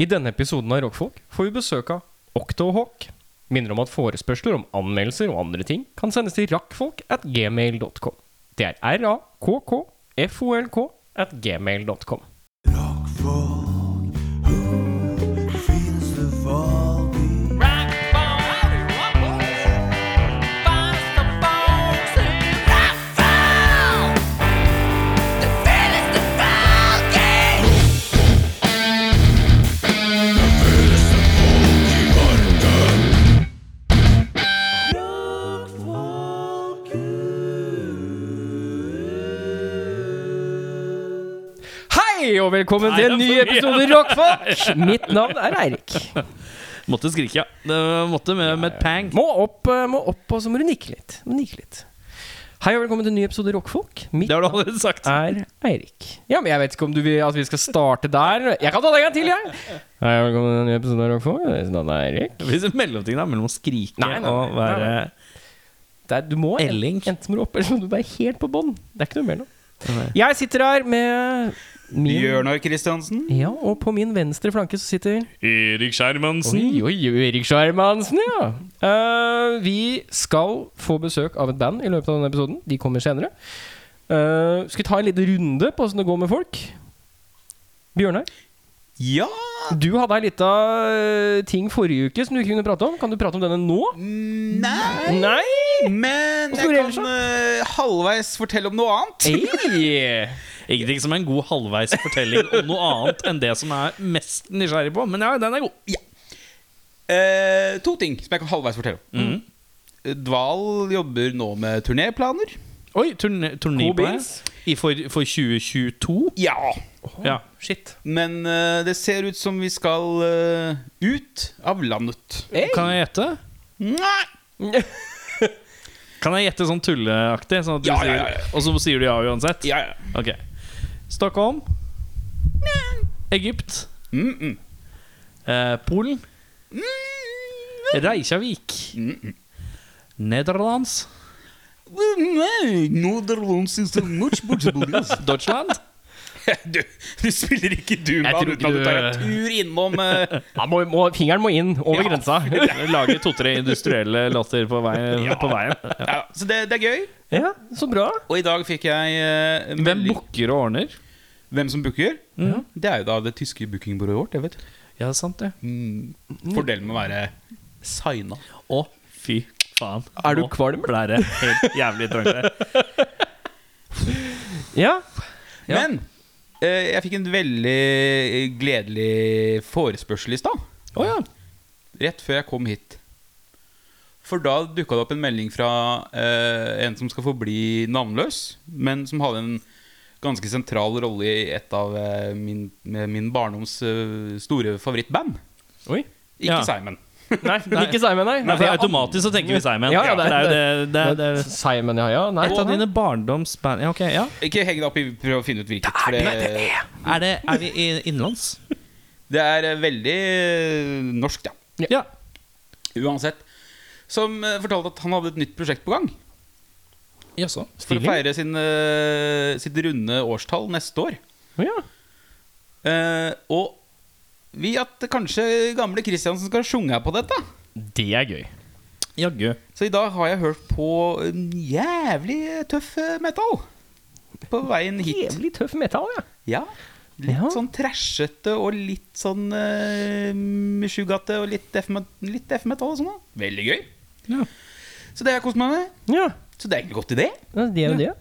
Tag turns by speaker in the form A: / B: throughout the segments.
A: I denne episoden av Rockfolk får vi besøk av Octohawk. Minner om at forespørsler om anmeldelser og andre ting kan sendes til rakkfolk at gmail.com. Det er r-a-k-k-f-o-l-k at gmail.com. Hei, og velkommen til en ny episode Rockfolk! Mitt navn er Eirik.
B: Måtte skrike, ja. Det måtte med, med et pang.
A: Må opp, eh, må opp, og så må du nikke litt. Må nikke litt. Hei, og velkommen til en ny episode Rockfolk. Mitt
B: Det har du allerede sagt.
A: er Eirik. Ja, men jeg vet ikke om du vil at vi skal starte der. Jeg kan ta det en gang til, jeg. Hei, og velkommen til en ny episode av Rockfolk. Mitt navn Sånn er Eirik.
B: Det finnes en mellomting da, mellom å skrike
A: Nei, nei, nei,
B: og være
A: Det er, du må
B: Elling.
A: enten må du opp, eller så må du være helt på bånn. Det er ikke noe mellom.
B: Nei.
A: Jeg sitter her med min
C: Bjørnar Kristiansen.
A: ja, og på min venstre flanke så sitter
B: Erik Skjermansen.
A: Oi, oi, oi, Erik Sjarmansen, ja. Eh, vi skal få besøk av et band i løpet av denne episoden. De kommer senere. Eh, skal vi ta en liten runde på åssen det går med folk? Bjørnar,
C: Ja!
A: du hadde ei lita eh, ting forrige uke som du ikke kunne prate om. Kan du prate om denne nå?
C: Nei,
A: Nei!
C: men
A: Hvorfor
C: jeg
A: ellers
C: kan eh, halvveis fortelle om noe annet.
A: Hey.
B: Ingenting som er en god halvveis fortelling om noe annet enn det som er mest nysgjerrig på. Men ja, den er god.
C: Eh, to ting som jeg kan halvveis fortelle om. Mm. Eh, Dval jobber nå med turnéplaner.
B: Oi, turné, turné
A: God
B: på deg.
A: bins.
B: I for, for 2022?
C: Ja.
B: Ja.
A: Shit.
C: Men eh, det ser ut som vi skal eh, ut av landet.
A: Hey.
B: Kan jeg gjette?
C: Nei!
B: Kan jeg gjette sånn tulleaktig? Sånn at du
C: Ja,
B: sier,
C: ja, ja, ja.
B: Og så sier du ja uansett?
C: Ja, ja.
B: Ok. Stockholm. Egypt.
C: Mm -mm.
B: Eh, Polen. Mm-hmm. Reykjavik. Nederlands.
C: Nei, Nederlands is so much better than us.
B: altså. Deutschland.
C: Du, du spiller ikke
A: Jeg
C: Duma
A: tror
C: uten at
A: ikke
C: du tar en
A: du-
C: tur innom eh,
A: Ja, må, må, fingeren må inn over
C: Ja.
B: Ah,
A: grensa.
B: Lager to-tre industrielle låter på, vei, på veien.
C: ja, Så det, det er gøy.
A: Ja, Så bra.
C: Og i dag fikk jeg eh,
B: Hvem
C: melding-
B: booker og ordner?
C: Hvem som booker?
A: Mhm.
C: Det er jo da det tyske bookingbyrået vårt. Jeg vet. Mm.
B: Ja, sant det.
C: Fordelen med å være signa.
B: Å, fy faen.
A: Er du
B: Nå
A: kvalm?
B: Ble det helt jævlig trangt her.
A: Ja. Ja.
C: Men eh, jeg fikk en veldig gledelig forespørsel i stad.
B: Å ja.
C: Rett før jeg kom hit. For da dukka det opp en melding fra eh, en som skal forbli navnløs, men som hadde en ganske sentral rolle i et av eh, min, med min barndoms eh, store favorittband.
A: Oi.
C: Ikke
B: Ja.
C: Simon.
A: Nei, ikke Simon, nei.
B: Nei, for automatisk så tenker vi Simon.
A: Ja, ja, det
B: det,
A: er-
B: er jo det, det, er- det, er-
A: Simon, ja, ja. Nei,
B: Et av dine barndomsband Ja, ok, ja.
C: Ikke heng deg opp i prøv å finne ut hvilket. for det,
B: Er, det, er vi i- innenlands?
C: det er eh, veldig eh, norsk, ja.
B: Ja.
C: Uansett. Som eh, fortalte at han hadde et nytt prosjekt på gang.
B: Jaså.
C: For å feire sin, eh, sitt runde årstall neste år.
A: Å, ja.
C: Eh, og vi at kanskje gamle Kristiansen skal sjunge her på dette.
A: Det er gøy.
B: Jaggu.
C: Så i dag har jeg hørt på en jævlig tøff eh, metal. På veien hit.
A: Jævlig tøff metall, ja.
C: Ja. Litt
A: Ja.
C: sånn trashete og litt sånn uh, sjugate og litt death met- litt death metal og sånn. da. Veldig gøy.
B: Ja.
C: Så det har jeg kost meg med.
A: Ja,
C: Så det er egentlig godt idé.
A: det er jo det.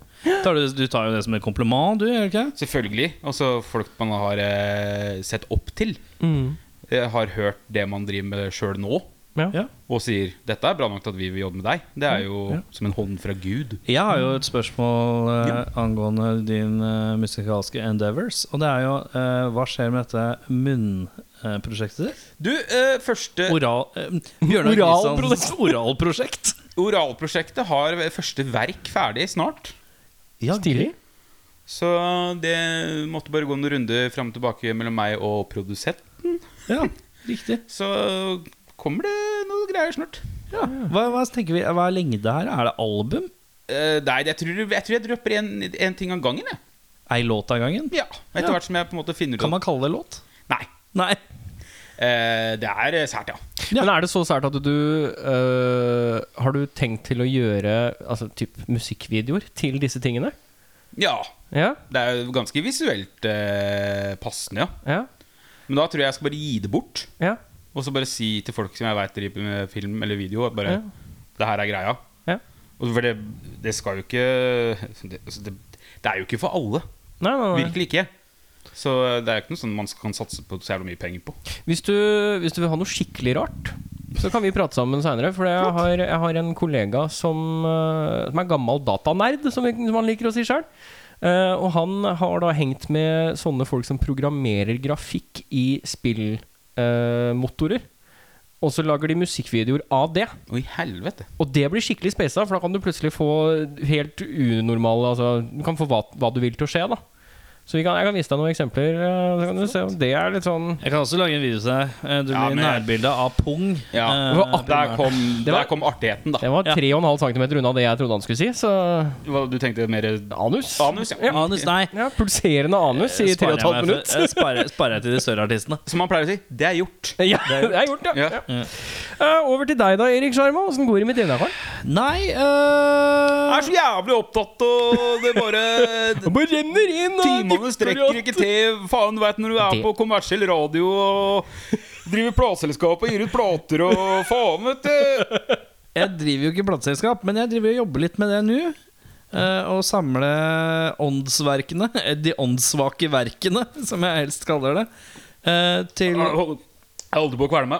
B: Tar du, du tar jo det som en kompliment, du, gjør du ikke? det?
C: Selvfølgelig. Altså folk man har eh, sett opp til. Eh, har hørt det man driver med sjøl nå,
A: Ja.
B: Mm. Ja.
C: og sier 'dette er bra nok til at vi vil jobbe med deg'. Det er jo
B: Ja.
C: som en hånd fra Gud.
B: Jeg har jo et spørsmål eh, angående din eh, musikalske endeavors. Og det er jo eh, hva skjer med dette munnprosjektet ditt?
C: Du, eh, første
B: Oral, eh, Bjørnar
A: Oral-
B: Kristiansens oralprosjekt.
C: oralprosjektet har første verk ferdig snart.
B: Ja,
A: Stilig.
C: Så det måtte bare gå en runde fram og tilbake mellom meg og produsent.
B: Ja, riktig.
C: Så kommer det noe greier snart.
B: Ja. Hva, hva, tenker vi, hva er lengde her? Er det album?
C: Eh, nei, jeg tror jeg, tror jeg dropper én ting av gangen. Jeg.
B: Ei låt av gangen?
C: Ja, Etter
B: Ja.
C: hvert som jeg på en måte finner ut
B: Kan man kalle det låt?
C: Nei.
B: Nei.
C: Eh, det er sært, ja.
A: Men er det så sært at du øh, Har du tenkt til å gjøre altså, typ musikkvideoer til disse tingene?
C: Ja.
A: Ja?
C: Det er jo ganske visuelt eh, passende, ja.
A: Ja?
C: Men da tror jeg jeg skal bare gi det bort.
A: Ja?
C: Og så bare si til folk som jeg veit driver med film eller video, at bare
A: Ja.
C: Det her er greia.
A: ja.
C: Og For det, det skal jo ikke det, altså det, det er jo ikke for alle.
A: Nei, nei, nei.
C: Virkelig ikke. Så det er jo ikke noe sånn man kan satse på så jævla mye penger på.
A: Hvis du, hvis du vil ha noe skikkelig rart, så kan vi prate sammen seinere. For jeg har, jeg har en kollega som, eh, som er gammel datanerd, som, som han liker å si sjøl. og han har da hengt med sånne folk som programmerer grafikk i spillmotorer. og så lager de musikkvideoer av det.
C: Å, i helvete.
A: Og det blir skikkelig spesa, for da kan du plutselig få helt unormale altså, Du kan få hva, hva du vil til å skje, da. Så vi kan, jeg kan vise deg noen eksempler. eh, så kan du se om det er litt sånn
B: Jeg kan også lage en video til deg. Eh, Du blir
C: Ja, men-
B: nærbilde av pung.
C: Ja.
B: Eh,
A: Det var akkurat-
C: Der kom,
A: Det var-
C: der kom artigheten, da.
A: Det var 3,5 cm unna det jeg trodde han skulle si, så
C: Hva- Du tenkte mer
A: anus.
C: anus, ja.
B: Anus, nei.
A: Ja, Pulserende anus i
B: Eh, sparer
A: 3,5
B: jeg meg for-
A: minutter.
B: eh, Sparer sparer jeg til de større artistene.
C: Som man pleier å si, det er gjort.
A: Ja, det er gjort, ja.
C: Ja.
A: ja. Eh, over til deg da, Erik Sjarma. Åssen går det med dine? Karl?
B: Nei
C: Jeg
B: eh,
C: er så jævlig opptatt, og det bare
A: Det bare renner inn!
C: Timene strekker ikke til. Faen, du veit når du er
A: Det-
C: på kommersiell radio og driver plateselskap og gir ut plater og faen, vet du.
B: Jeg driver jo ikke plateselskap, men jeg driver og jobber litt med det nå. Eh, og samle åndsverkene, eh, de åndssvake verkene, som jeg helst kaller det, eh, til
C: Jeg hold- jeg holdt på å kvele meg.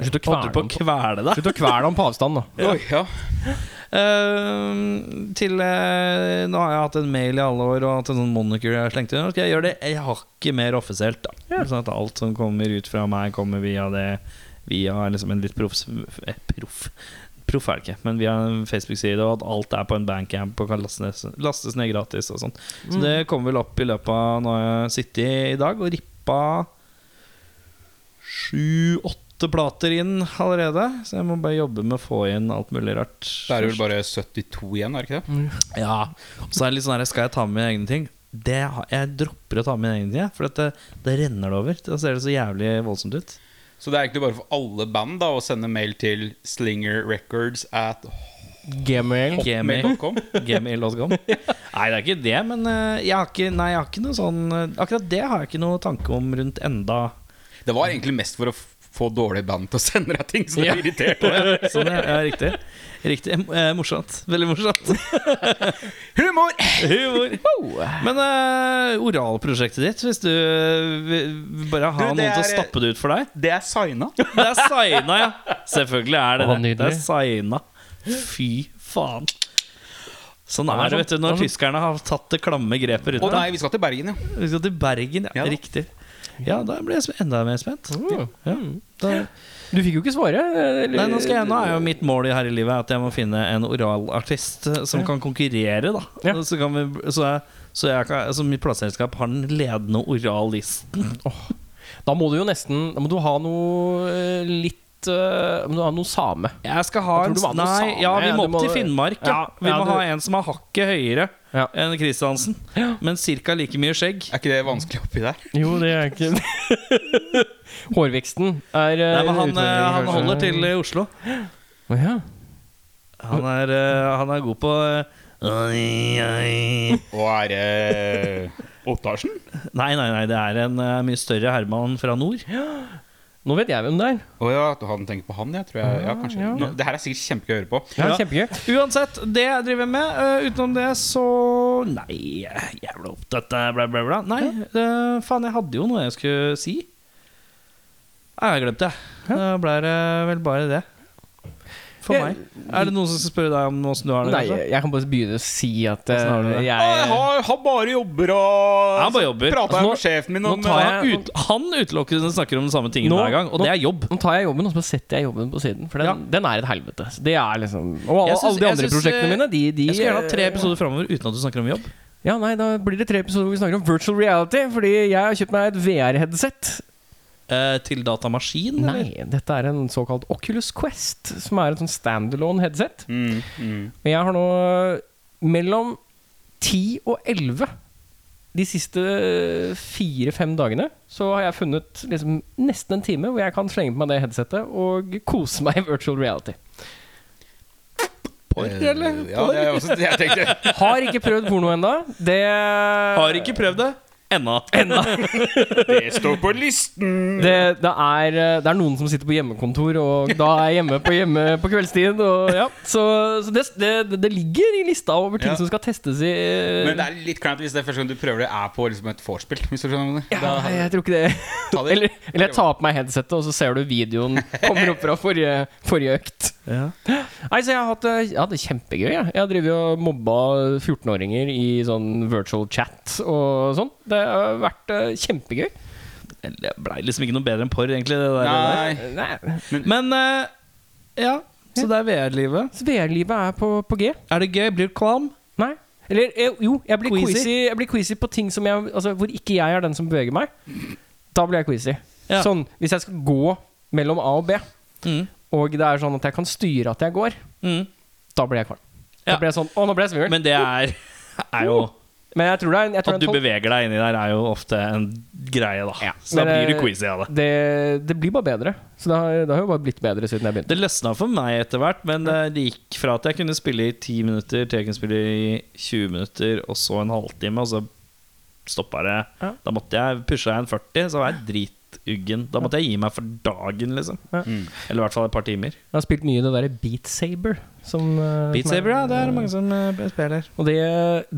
A: Slutt å
B: Holdt
A: kvele
B: du på å
A: ham på-
B: kvele deg?
A: Slutt å kvele ham på avstand, da.
C: Oi, ja.
B: Eh, til eh, Nå har jeg hatt en mail i alle år og hatt en sånn moniker jeg slengte inn. Nå skal jeg gjøre det Jeg har ikke mer offisielt, da. Sånn at alt som kommer ut fra meg, kommer via det Via liksom en litt proffs... eh, Proff. Proff er det ikke, men via en Facebook-side, og at alt er på en bandcamp og kan lastes, lastes ned gratis og sånn. Så det kommer vel opp i løpet av Nå har jeg sittet i dag og rippa sju-åtte plater inn allerede. Så jeg må bare jobbe med å få inn alt mulig rart.
C: Da er det vel bare 72 igjen, er det ikke det?
B: Ja, og så er det litt sånn her Skal jeg ta med mine egne ting? Det, har- jeg dropper å ta med mine egne ting jeg, For dette, det renner det over Da ser det så jævlig voldsomt ut
C: Så det er egentlig bare for alle band da å sende mail til slingerrecords at
A: Gmail.
B: Gmail
C: mail.com.
B: Gmail.com Nei, det er ikke det Men eh, jeg har ikke, nei, jeg har ikke noe sånn eh, Akkurat det har jeg ikke noe tanke om rundt enda
C: Det var egentlig mest for å f- få dårlige band til å sende deg ting, så du
A: Ja.
C: blir irritert av det.
B: Sånn, ja, ja, riktig Riktig, eh, morsomt Veldig morsomt
C: Humor!
B: Humor Men eh, oralprosjektet ditt Hvis du vil bare ha
C: Du,
B: noen
C: det
B: til å
C: er-
B: stappe det ut for deg
C: Det er signa.
B: Det er signa, ja. Selvfølgelig er
A: Å,
B: det det. Det er
A: nydelig.
B: signa. Fy faen. Sånn er det vet du, når tyskerne har tatt det klamme grepet rundt
C: Å nei,
B: deg.
C: vi skal til Bergen, ja.
B: Vi skal til Bergen, ja.
C: Ja da.
B: Riktig. Ja, da blir jeg sp- enda mer spent.
A: Mm.
B: Ja. Da,
A: Du fikk jo ikke svare. eh, eller-
B: nei, nå, skal jeg, nå er jo mitt mål i her i livet at jeg må finne en oralartist eh, som kan konkurrere, da.
A: Ja.
B: Så, kan vi, så, jeg, så, jeg kan, så mitt plateselskap har den ledende orallisten.
A: Da må du jo nesten Da må du ha noe eh, litt eh, Må du ha noe same.
B: Jeg skal ha
A: Jeg tror
B: en
A: du må ha noe
B: Nei,
A: same,
B: ja, vi
A: ja,
B: må
A: du
B: opp
A: må-
B: til Finnmark. Ja.
A: Ja,
B: vi
A: ja,
B: må
A: du-
B: ha en som har hakket høyere
A: Ja.
B: enn Kristiansen,
A: Ja.
B: men ca. like mye skjegg.
C: Er ikke det vanskelig oppi der?
A: Jo, det er ikke Hårveksten er eh,
B: Nei, men
A: en
B: han,
A: utfordring,
B: eh, han
A: kanskje.
B: holder til i Oslo.
A: Å, ja.
B: Han er, eh, han er god på eh, oi, oi.
C: Og er det Ottarsen?
B: Nei, nei, nei, det er en eh, mye større Herman fra nord.
A: Nå vet jeg hvem det er.
C: Å ja, at han tenker på han, jeg tror jeg. Ja, kanskje.
A: Ja, ja.
C: Nå, det her er sikkert kjempegøy å høre på.
A: Det er
B: Ja.
A: Kjempegøy.
B: Uansett, det jeg driver med. eh, utenom det, så Nei, eh, jævla opptatt eh, bla, bla, bla. Nei, eh, faen, jeg hadde jo noe jeg skulle si. Nei, jeg glemte det. Da ble det vel bare det. For
A: Jeg-
B: meg. Er det noen som skal spørre deg om åssen du har det?
A: Nei,
B: kanskje?
A: jeg kan bare begynne å si at eh,
B: Hvordan har du det?
C: Å, Jeg
A: jeg
C: har, har bare jobber og
B: Jeg bare jobber.
C: Prata
A: Altså, nå-
C: med sjefen min
A: nå
C: om
A: tar
C: eh,
A: jeg-
B: Han, ut, han utelukkende snakker om de samme tingene
A: Nå-
B: hver gang, og
A: nå-
B: det er jobb.
A: Nå tar jeg jobben, og så setter jeg jobben på siden. For den,
B: Ja.
A: den er et helvete. Så Det er liksom Og alle,
B: Jeg syns-
A: alle de
B: jeg
A: andre
B: syns,
A: prosjektene
B: eh,
A: mine, de, de
B: Jeg skulle gjerne hatt tre
A: eh,
B: episoder framover uten at du snakker om jobb.
A: Ja, nei, da blir det tre episoder hvor vi snakker om virtual reality. Fordi jeg har kjøpt meg et VR-headset.
B: Eh, til datamaskin, eller?
A: Nei, dette er en såkalt Oculus Quest, som er et sånn standalone headset.
C: mm, mm.
A: eh, Men jeg har nå mellom 10 og 11 de siste eh, fire-fem dagene så har jeg funnet liksom nesten en time hvor jeg kan slenge på meg det headsetet og kose meg i virtual reality. Porr,
C: Eh,
A: eller?
C: Ja, det er også det jeg tenkte.
A: Har ikke prøvd porno ennå. Det
B: Har ikke prøvd det ennå.
C: Det står på listen!
A: det, det, er, eh, det er noen som sitter på hjemmekontor, og da er jeg hjemme på, hjemme på kveldstid. Og, ja. Så, så det, det, det ligger i lista over ting
C: Ja.
A: som skal testes i eh,
C: Men det er litt kleint hvis det er første gang du prøver det, er på liksom et vorspiel. Hvis du skjønner hva jeg
A: ja,
C: mener.
A: jeg tror ikke det.
C: Da- ta det.
A: Eller, eller jeg tar på meg headsetet, og så ser du videoen kommer opp fra forrige, forrige økt.
B: Ja.
A: Nei, så jeg har hatt det, jeg har hatt det kjempegøy. Jeg, jeg har drevet og mobba 14-åringer i sånn virtual chat og sånn. Det har vært eh, kjempegøy.
B: Det blei liksom ikke noe bedre enn porr, egentlig. Det der,
C: Nei.
A: Nei,
B: Det der. Men eh, ja, så det er VR-livet.
A: så VR-livet er på, på G.
B: Er det gøy? Blir du kvalm?
A: Nei. Eller eh, jo, jeg blir
B: Queasy?
A: queasy, jeg blir queasy på ting som jeg Altså hvor ikke jeg er den som beveger meg. Da blir jeg queasy.
B: Ja.
A: Sånn hvis jeg skal gå mellom A og B,
B: Mm.
A: og det er sånn at jeg kan styre at jeg går,
B: Mm.
A: da blir jeg kvalm. Da
B: Ja.
A: blir jeg sånn Å, nå ble jeg svimmel. Men,
B: Men det er, er jo
A: jeg tror det er en, Oh. jeg tror
B: At
A: det er en
B: du
A: tol-
B: beveger deg inni der, er jo ofte en greie, da.
A: Ja.
B: Så da
A: Men,
B: blir
A: eh,
B: du quizy av det.
A: det, det blir bare bedre. Så det har, det har jo bare blitt bedre siden jeg begynte.
B: Det løsna for meg etter hvert, men eh, det gikk fra at jeg kunne spille i 10 minutter, til jeg kunne spille i 20 minutter, og så en halvtime, og så stoppa det.
A: Ja.
B: Da måtte jeg pusha jeg en 40, så var jeg drituggen. Da måtte jeg gi meg for dagen, liksom.
A: Ja.
C: Mm.
B: Eller i hvert fall et par timer.
A: Jeg har spilt mye i det derre Beat Saber. Som, eh,
B: Beat
A: som er-
B: Saber, ja. Det er det mange som eh, spiller.
A: Og det,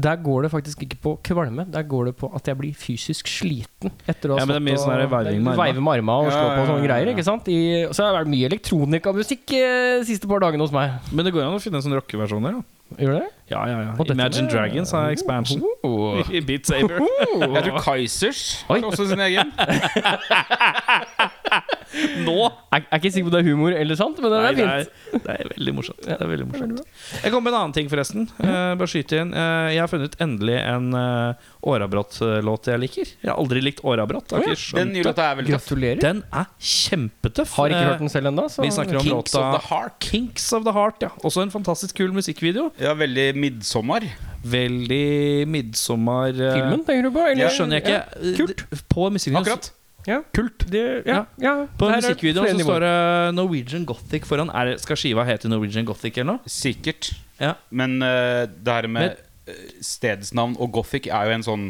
A: der går det faktisk ikke på kvalme, der går det på at jeg blir fysisk sliten. Etter å ha
B: Ja, men det er mye
A: stått
B: sånn
A: og-
B: der veiving med armene.
A: Veive med armene og
C: Ja,
A: slå på
C: ja,
A: og sånne
C: ja, ja.
A: greier. ikke sant? I, og så har det vært mye elektronikamusikk eh, de siste par dagene hos meg.
B: Men det går an å finne sånne rockeversjoner, da.
A: Gjør det?
B: Ja, ja, ja.
A: Og dette
B: Imagine
A: med-
B: Dragons har expansion.
A: Oh.
B: I Beat Saber.
C: Jeg tror Kaizers
A: Oi.
C: har også sin egen.
B: Nå
A: Jeg, jeg er ikke sikker på om det er humor eller sant, men det
B: Nei,
A: er fint.
B: Det er, det er veldig morsomt. Det er veldig morsomt. Jeg kom med en annen ting, forresten. Eh, bare skyte inn. Eh, jeg har funnet endelig en uh, Årabrott-låt jeg liker. Jeg har aldri likt Årabrott. Jeg har ikke skjønt
C: Den nye låta er veldig tøff.
A: Gratulerer.
B: Den er kjempetøff.
A: Har ikke
B: Eh,
A: hørt den selv ennå, så
B: Vi snakker om
C: Kinks
B: låta
C: of the Heart.
B: Kinks of the Heart. Ja. Også en fantastisk kul musikkvideo.
C: Ja, veldig midtsommer.
B: Veldig midtsommer eh,
A: filmen, tenker du på? eller-
B: Jeg skjønner jeg ikke.
A: Kult.
B: Eh, På musikkvideoen
C: Akkurat.
A: Ja.
B: Kult.
A: Det, ja, ja.
B: På
A: Der er det flere
B: musikkvideoen så
A: nivåer.
B: står det Norwegian Gothic foran. Er, det- skal skiva hete Norwegian Gothic eller noe?
C: Sikkert.
B: Ja.
C: Men eh, det her med eh, stedsnavn og gothic er jo en sånn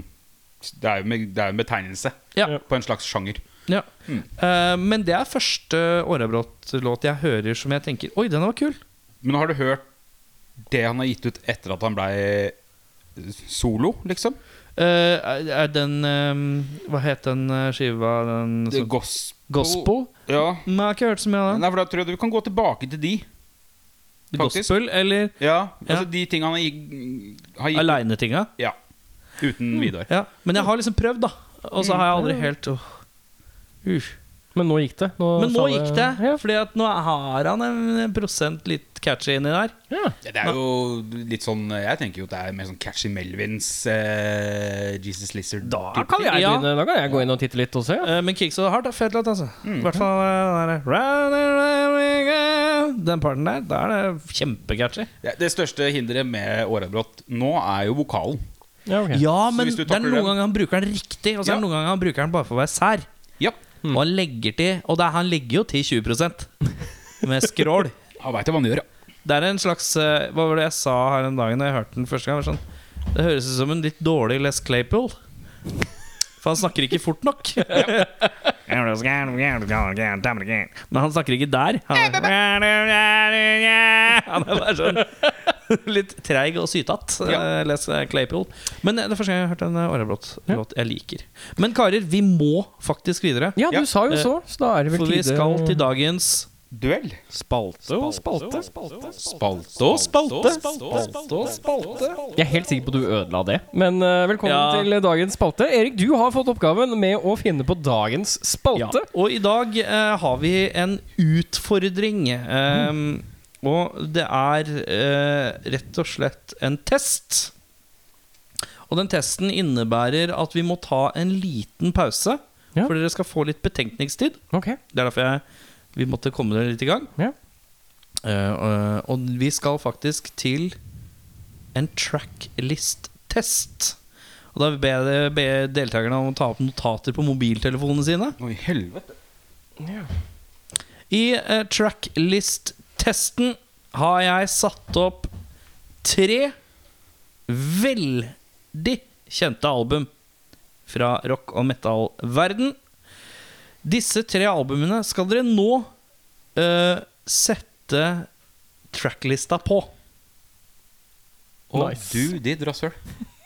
C: Det er jo, med, det er jo en betegnelse
B: Ja.
C: på en slags sjanger.
B: Ja. Eh, men det er første Årabrott-låt jeg hører som jeg tenker Oi, den var kul.
C: Men har du hørt det han har gitt ut etter at han blei solo, liksom?
B: Eh, er, er den eh, Hva het den eh, skiva? Den,
C: Det,
B: som-
C: gos
B: gospel?
C: Ja.
B: Nei, jeg har ikke hørt så mye av den.
C: Nei, for da tror jeg du kan gå tilbake til de. faktisk.
B: Gospel eller
C: Ja, altså
B: Ja.
C: de tinga han har gitt, har gitt
B: Aleinetinga.
C: Ja.
A: Mm.
C: Uten Vidar.
B: Ja. Men jeg har liksom prøvd, da. Og så har jeg aldri helt åh. uh.
A: Men nå gikk det. Nå
B: Men nå
A: sa det-
B: gikk det, Fordi at nå har han en prosent litt catchy inni der.
A: Ja.
C: Ja, Det er jo litt sånn Jeg tenker jo at det er mer sånn catchy Melvins eh, Jesus Lizard.
A: Da kan jeg,
B: Ja.
A: begynne, da kan jeg gå inn og titte litt og se.
B: Eh, men Kicks of the Heart er fet låt, altså. I hvert fall eh, den der, Round and round we go. Den parten der, da er det kjempecatchy.
C: Ja, det største hinderet med Årabrott nå er jo vokalen.
A: Ja, ok.
B: Ja,
C: Så
B: men
C: hvis du
B: det er
C: takler
B: noen
C: den-
B: ganger han bruker den riktig, og så
C: Ja.
B: er det noen ganger han bruker den bare for å være sær.
C: Ja.
B: Og han legger til Og det er, han legger jo til 20 med skrål.
C: Han veit hva han gjør, ja.
B: Det er en slags eh, Hva var det jeg sa her en dag da jeg hørte den første gang? Det, var sånn, det høres ut som en litt dårlig Les Claypool. For han snakker ikke fort nok. Men han snakker ikke der. Han er, han er bare sånn litt treig og sytete. eh, Les Claypool. Men eh, det er første gang jeg har hørt en Åreblåt-låt jeg liker. Men karer, vi må faktisk videre.
A: Ja, du
C: Ja.
A: sa jo så, så da er det vel
B: For vi
A: tide
B: skal
A: å-
B: til dagens
C: Duell.
B: spalte.
A: og spalte.
C: Spalte og spalte. Spalte og spalte.
A: Jeg er helt sikker på at du ødela det, men eh, velkommen
B: Ja.
A: til dagens spalte. Erik, du har fått oppgaven med å finne på dagens spalte.
B: Ja. Og i dag eh, har vi en utfordring. eh, Og det er eh, rett og slett en test. Og den testen innebærer at vi må ta en liten pause.
A: Ja.
B: For dere skal få litt betenkningstid.
A: Ok.
B: Det er derfor jeg, vi måtte komme dere litt i gang.
A: Ja.
B: Eh, eh, og vi skal faktisk til en tracklist-test. Og da ber jeg ber jeg deltakerne om å ta opp notater på mobiltelefonene sine.
C: Oi, helvete.
B: I eh, tracklist-testen har jeg satt opp tre veldig kjente album fra rock- og metal-verden. Disse tre albumene skal dere nå eh, sette tracklista på.
C: Å,
A: Nice.
C: du ditt rasshøl.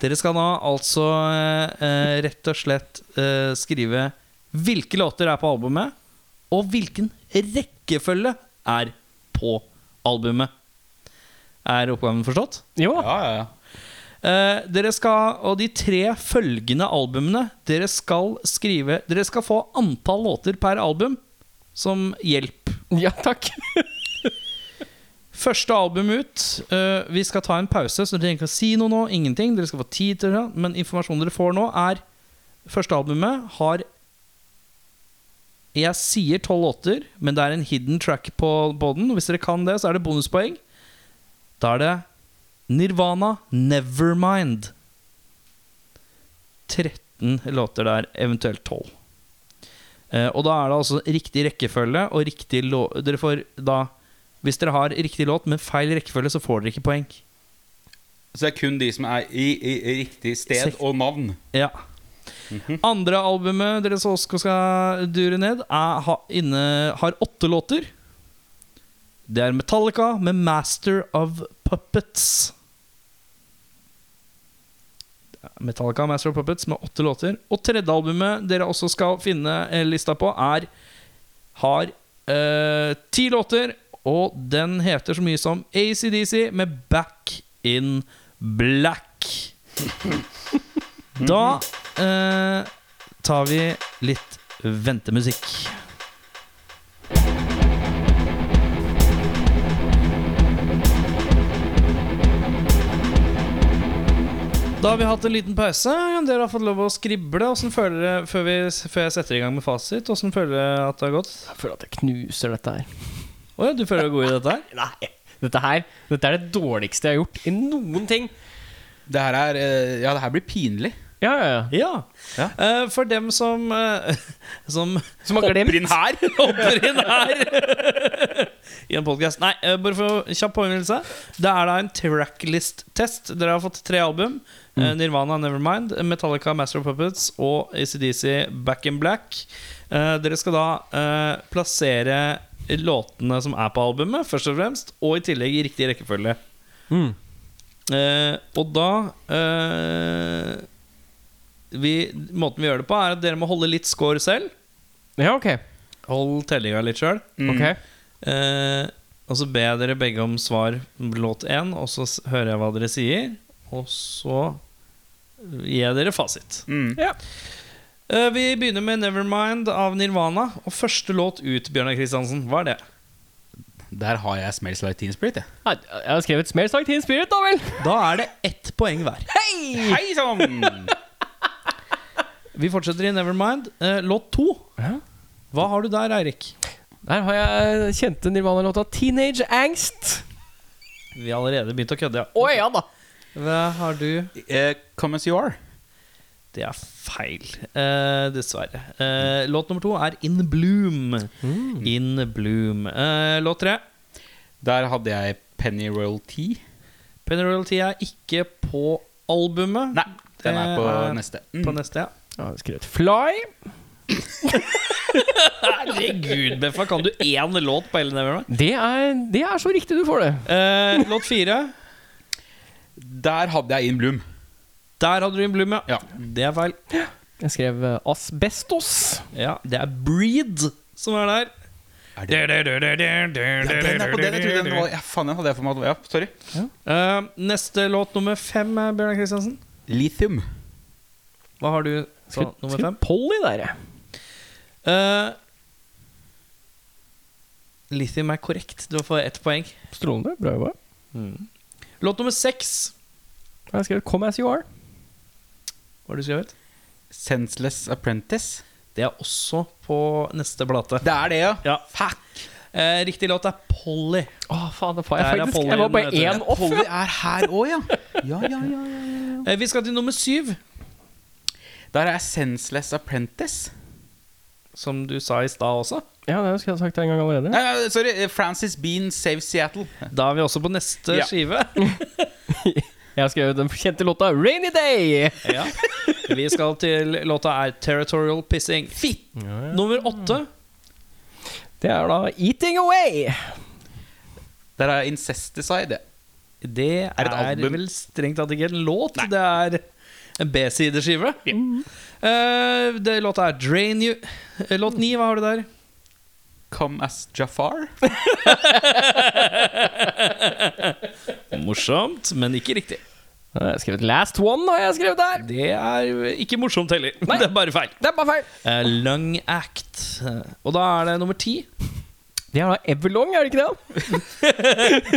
B: Dere skal da altså eh, rett og slett eh, skrive hvilke låter er på albumet, og hvilken rekkefølge er på albumet. Er oppgaven forstått?
A: Jo da.
C: Ja, ja, ja.
B: Eh, dere skal, og de tre følgende albumene Dere skal skrive Dere skal få antall låter per album som hjelp.
A: Ja, takk.
B: Første album ut. Eh, vi skal ta en pause, så dere trenger ikke å si noe nå. Ingenting. Dere skal få tid til det. Men informasjonen dere får nå, er Første albumet har Jeg sier tolv låter, men det er en hidden track på, på den. Hvis dere kan det, så er det bonuspoeng. Da er det Nirvana Nevermind. 13 låter der, eventuelt 12. Eh, og da er det altså riktig rekkefølge og riktig lå... Dere får da hvis dere har riktig låt, men feil rekkefølge, så får dere ikke poeng.
C: Så det er kun de som er i, i, i riktig sted
B: Sek-
C: og navn.
B: Ja. Andre albumet dere så skal- skal dure ned, er, ha, inne, har åtte låter. Det er Metallica med 'Master of Puppets'. Metallica Master of Puppets med åtte låter. Og tredje albumet dere også skal finne eh, lista på, er har eh, ti låter, og den heter så mye som ACDC med 'Back in Black'. Da eh, tar vi litt ventemusikk. Da har vi hatt en liten pause. Dere har fått lov å skrible. Hvordan føler dere, før, vi, før jeg setter i gang med fasit, hvordan føler dere at det har gått?
A: Jeg føler at jeg knuser dette her.
B: Å ja, du føler deg god i dette her?
A: Nei. Dette her Dette er det dårligste jeg har gjort i noen ting.
C: Det her er eh, Ja, det her blir pinlig.
A: Ja, ja, ja.
B: Ja.
C: Ja.
B: Eh, for dem som, eh, som
A: Som har glemt.
C: inn her!
B: hopper inn her i en podcast Nei, eh, bare for å- kjapp påminnelse. Det er da en tracklist-test. Dere har fått tre album. Eh, Nirvana, Nevermind, Metallica, Master of Puppets og ACDC, Back in Black. Eh, Dere skal da eh, plassere låtene som er på albumet, først og fremst, og i tillegg i riktig rekkefølge.
A: Mm.
B: Eh, og da eh, vi, Måten vi gjør det på, er at dere må holde litt score selv.
A: Ja, ok.
B: Hold tellinga litt sjøl.
C: Mm.
A: Ok.
B: Eh, og så ber jeg dere begge om svar låt én, og så s- hører jeg hva dere sier. Og så gir jeg dere fasit.
C: Mm.
A: Ja.
B: Eh, vi begynner med 'Nevermind' av Nirvana. Og første låt ut, Bjørnar Kristiansen, hva er det?
C: Der har jeg Smells Like Teen Spirit, jeg.
A: Nei, Jeg har skrevet 'Smells like teen spirit', da vel.
B: Da er det ett poeng hver.
C: Hei sann!
B: Vi fortsetter i 'Nevermind'. Eh, låt to.
A: Ja.
B: Hva har du der, Eirik?
A: Der har jeg kjente Nirvana-låta 'Teenage Angst'.
B: Vi har allerede begynt å kødde, ja.
A: Å ja da.
B: Hva har du?
C: Eh, Come As You Are.
B: Det er feil, eh, dessverre. Eh, låt nummer to er 'In Bloom'. In Bloom. Eh, låt tre.
C: Der hadde jeg Penny Royal Tea.
B: Penny Royalty er ikke på albumet.
C: Nei, den er
B: Det
C: på
B: er
C: neste.
B: På
C: Mm.
B: neste, ja.
A: Jeg har skrevet 'Fly'.
B: Herregud, Beffa, kan du én låt på hele Nevermind?
A: Det er, det er så riktig du får det.
B: Eh, låt fire.
C: Der hadde jeg In Bloom.
B: Der hadde du In Bloom, ja.
C: Ja.
B: Det er feil.
A: Jeg skrev eh, 'Asbestos'.
B: Ja, Det er Breed som er der.
C: Er det? Ja, den er på den. Jeg trodde den var ja, Faen, den hadde jeg for meg. Ja, sorry.
B: Eh, neste låt nummer fem, eh, Bjørnar Kristiansen.
C: Lithium.
B: Hva har du på nummer fem?
A: Polly der, jeg.
B: Eh, Lithium er korrekt. Du får ett poeng.
A: Strålende. Bra jobba.
B: Låt nummer seks.
A: Jeg har skrevet 'Come As You Are'.
B: Hva har du skrevet?
C: Senseless Apprentice.
B: Det er også på neste plate.
C: Det er det, ja.
B: Ja.
C: Fuck!
B: Eh, riktig låt er Polly.
A: Å, faen, det får jeg
B: Der er
A: faktisk.
B: Polly
A: Jeg var
B: igjen,
A: bare
B: vet du.
A: én off.
C: Polly er her òg, ja. Ja, ja, ja, ja.
B: Eh, vi skal til nummer syv.
C: Der er Senseless Apprentice.
B: Som du sa i stad også.
A: Ja, det skulle jeg ha sagt en gang allerede.
C: Nei, nei, sorry. Francis Bean Saves Seattle.
B: Da er vi også på neste
C: Ja.
B: skive.
A: Jeg skrev den kjente låta 'Rainy Day'.
B: Ja. Vi skal til låta er 'Territorial Pissing'. Fitt! Nummer åtte.
A: Det er da 'Eating Away'.
C: Der er Incesticide.
B: Det er,
C: det et album?
B: vel strengt tatt ikke en låt. Det er en B-sideskive. Mm. Eh, det- låta er 'Drain You'. Eh, Låt ni, hva har du der?
C: Come as Jafar.
B: Morsomt, men ikke riktig.
A: Jeg har skrevet 'Last One'. har jeg skrevet der
B: Det er ikke morsomt heller. Det er bare feil.
A: Det er bare feil.
B: Eh, Lung Act. Eh, Og da er det nummer ti.
A: Det er da Everlong, er det ikke det?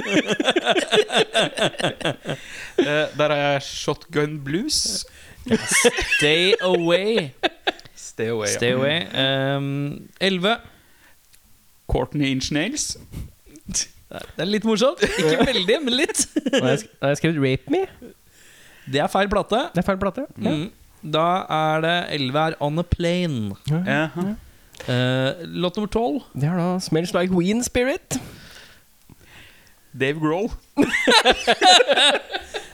C: Eh, der er Shotgun Blues.
B: Stay Away.
C: Stay away.
B: Stay Away. Eh, Elleve.
C: Courtney Inch Nails.
B: Det er litt morsomt. Ikke veldig, men litt.
A: Og jeg sk- og jeg har skrevet 'Rape Me'.
B: Det er feil plate.
A: Det er feil plate. Ja.
B: Mm. Da er det 11 er On a Plane.
C: Jaha.
B: Eh, låt nummer 12.
A: Det er da 'Smells Like Ween Spirit'.
C: Dave Grohl.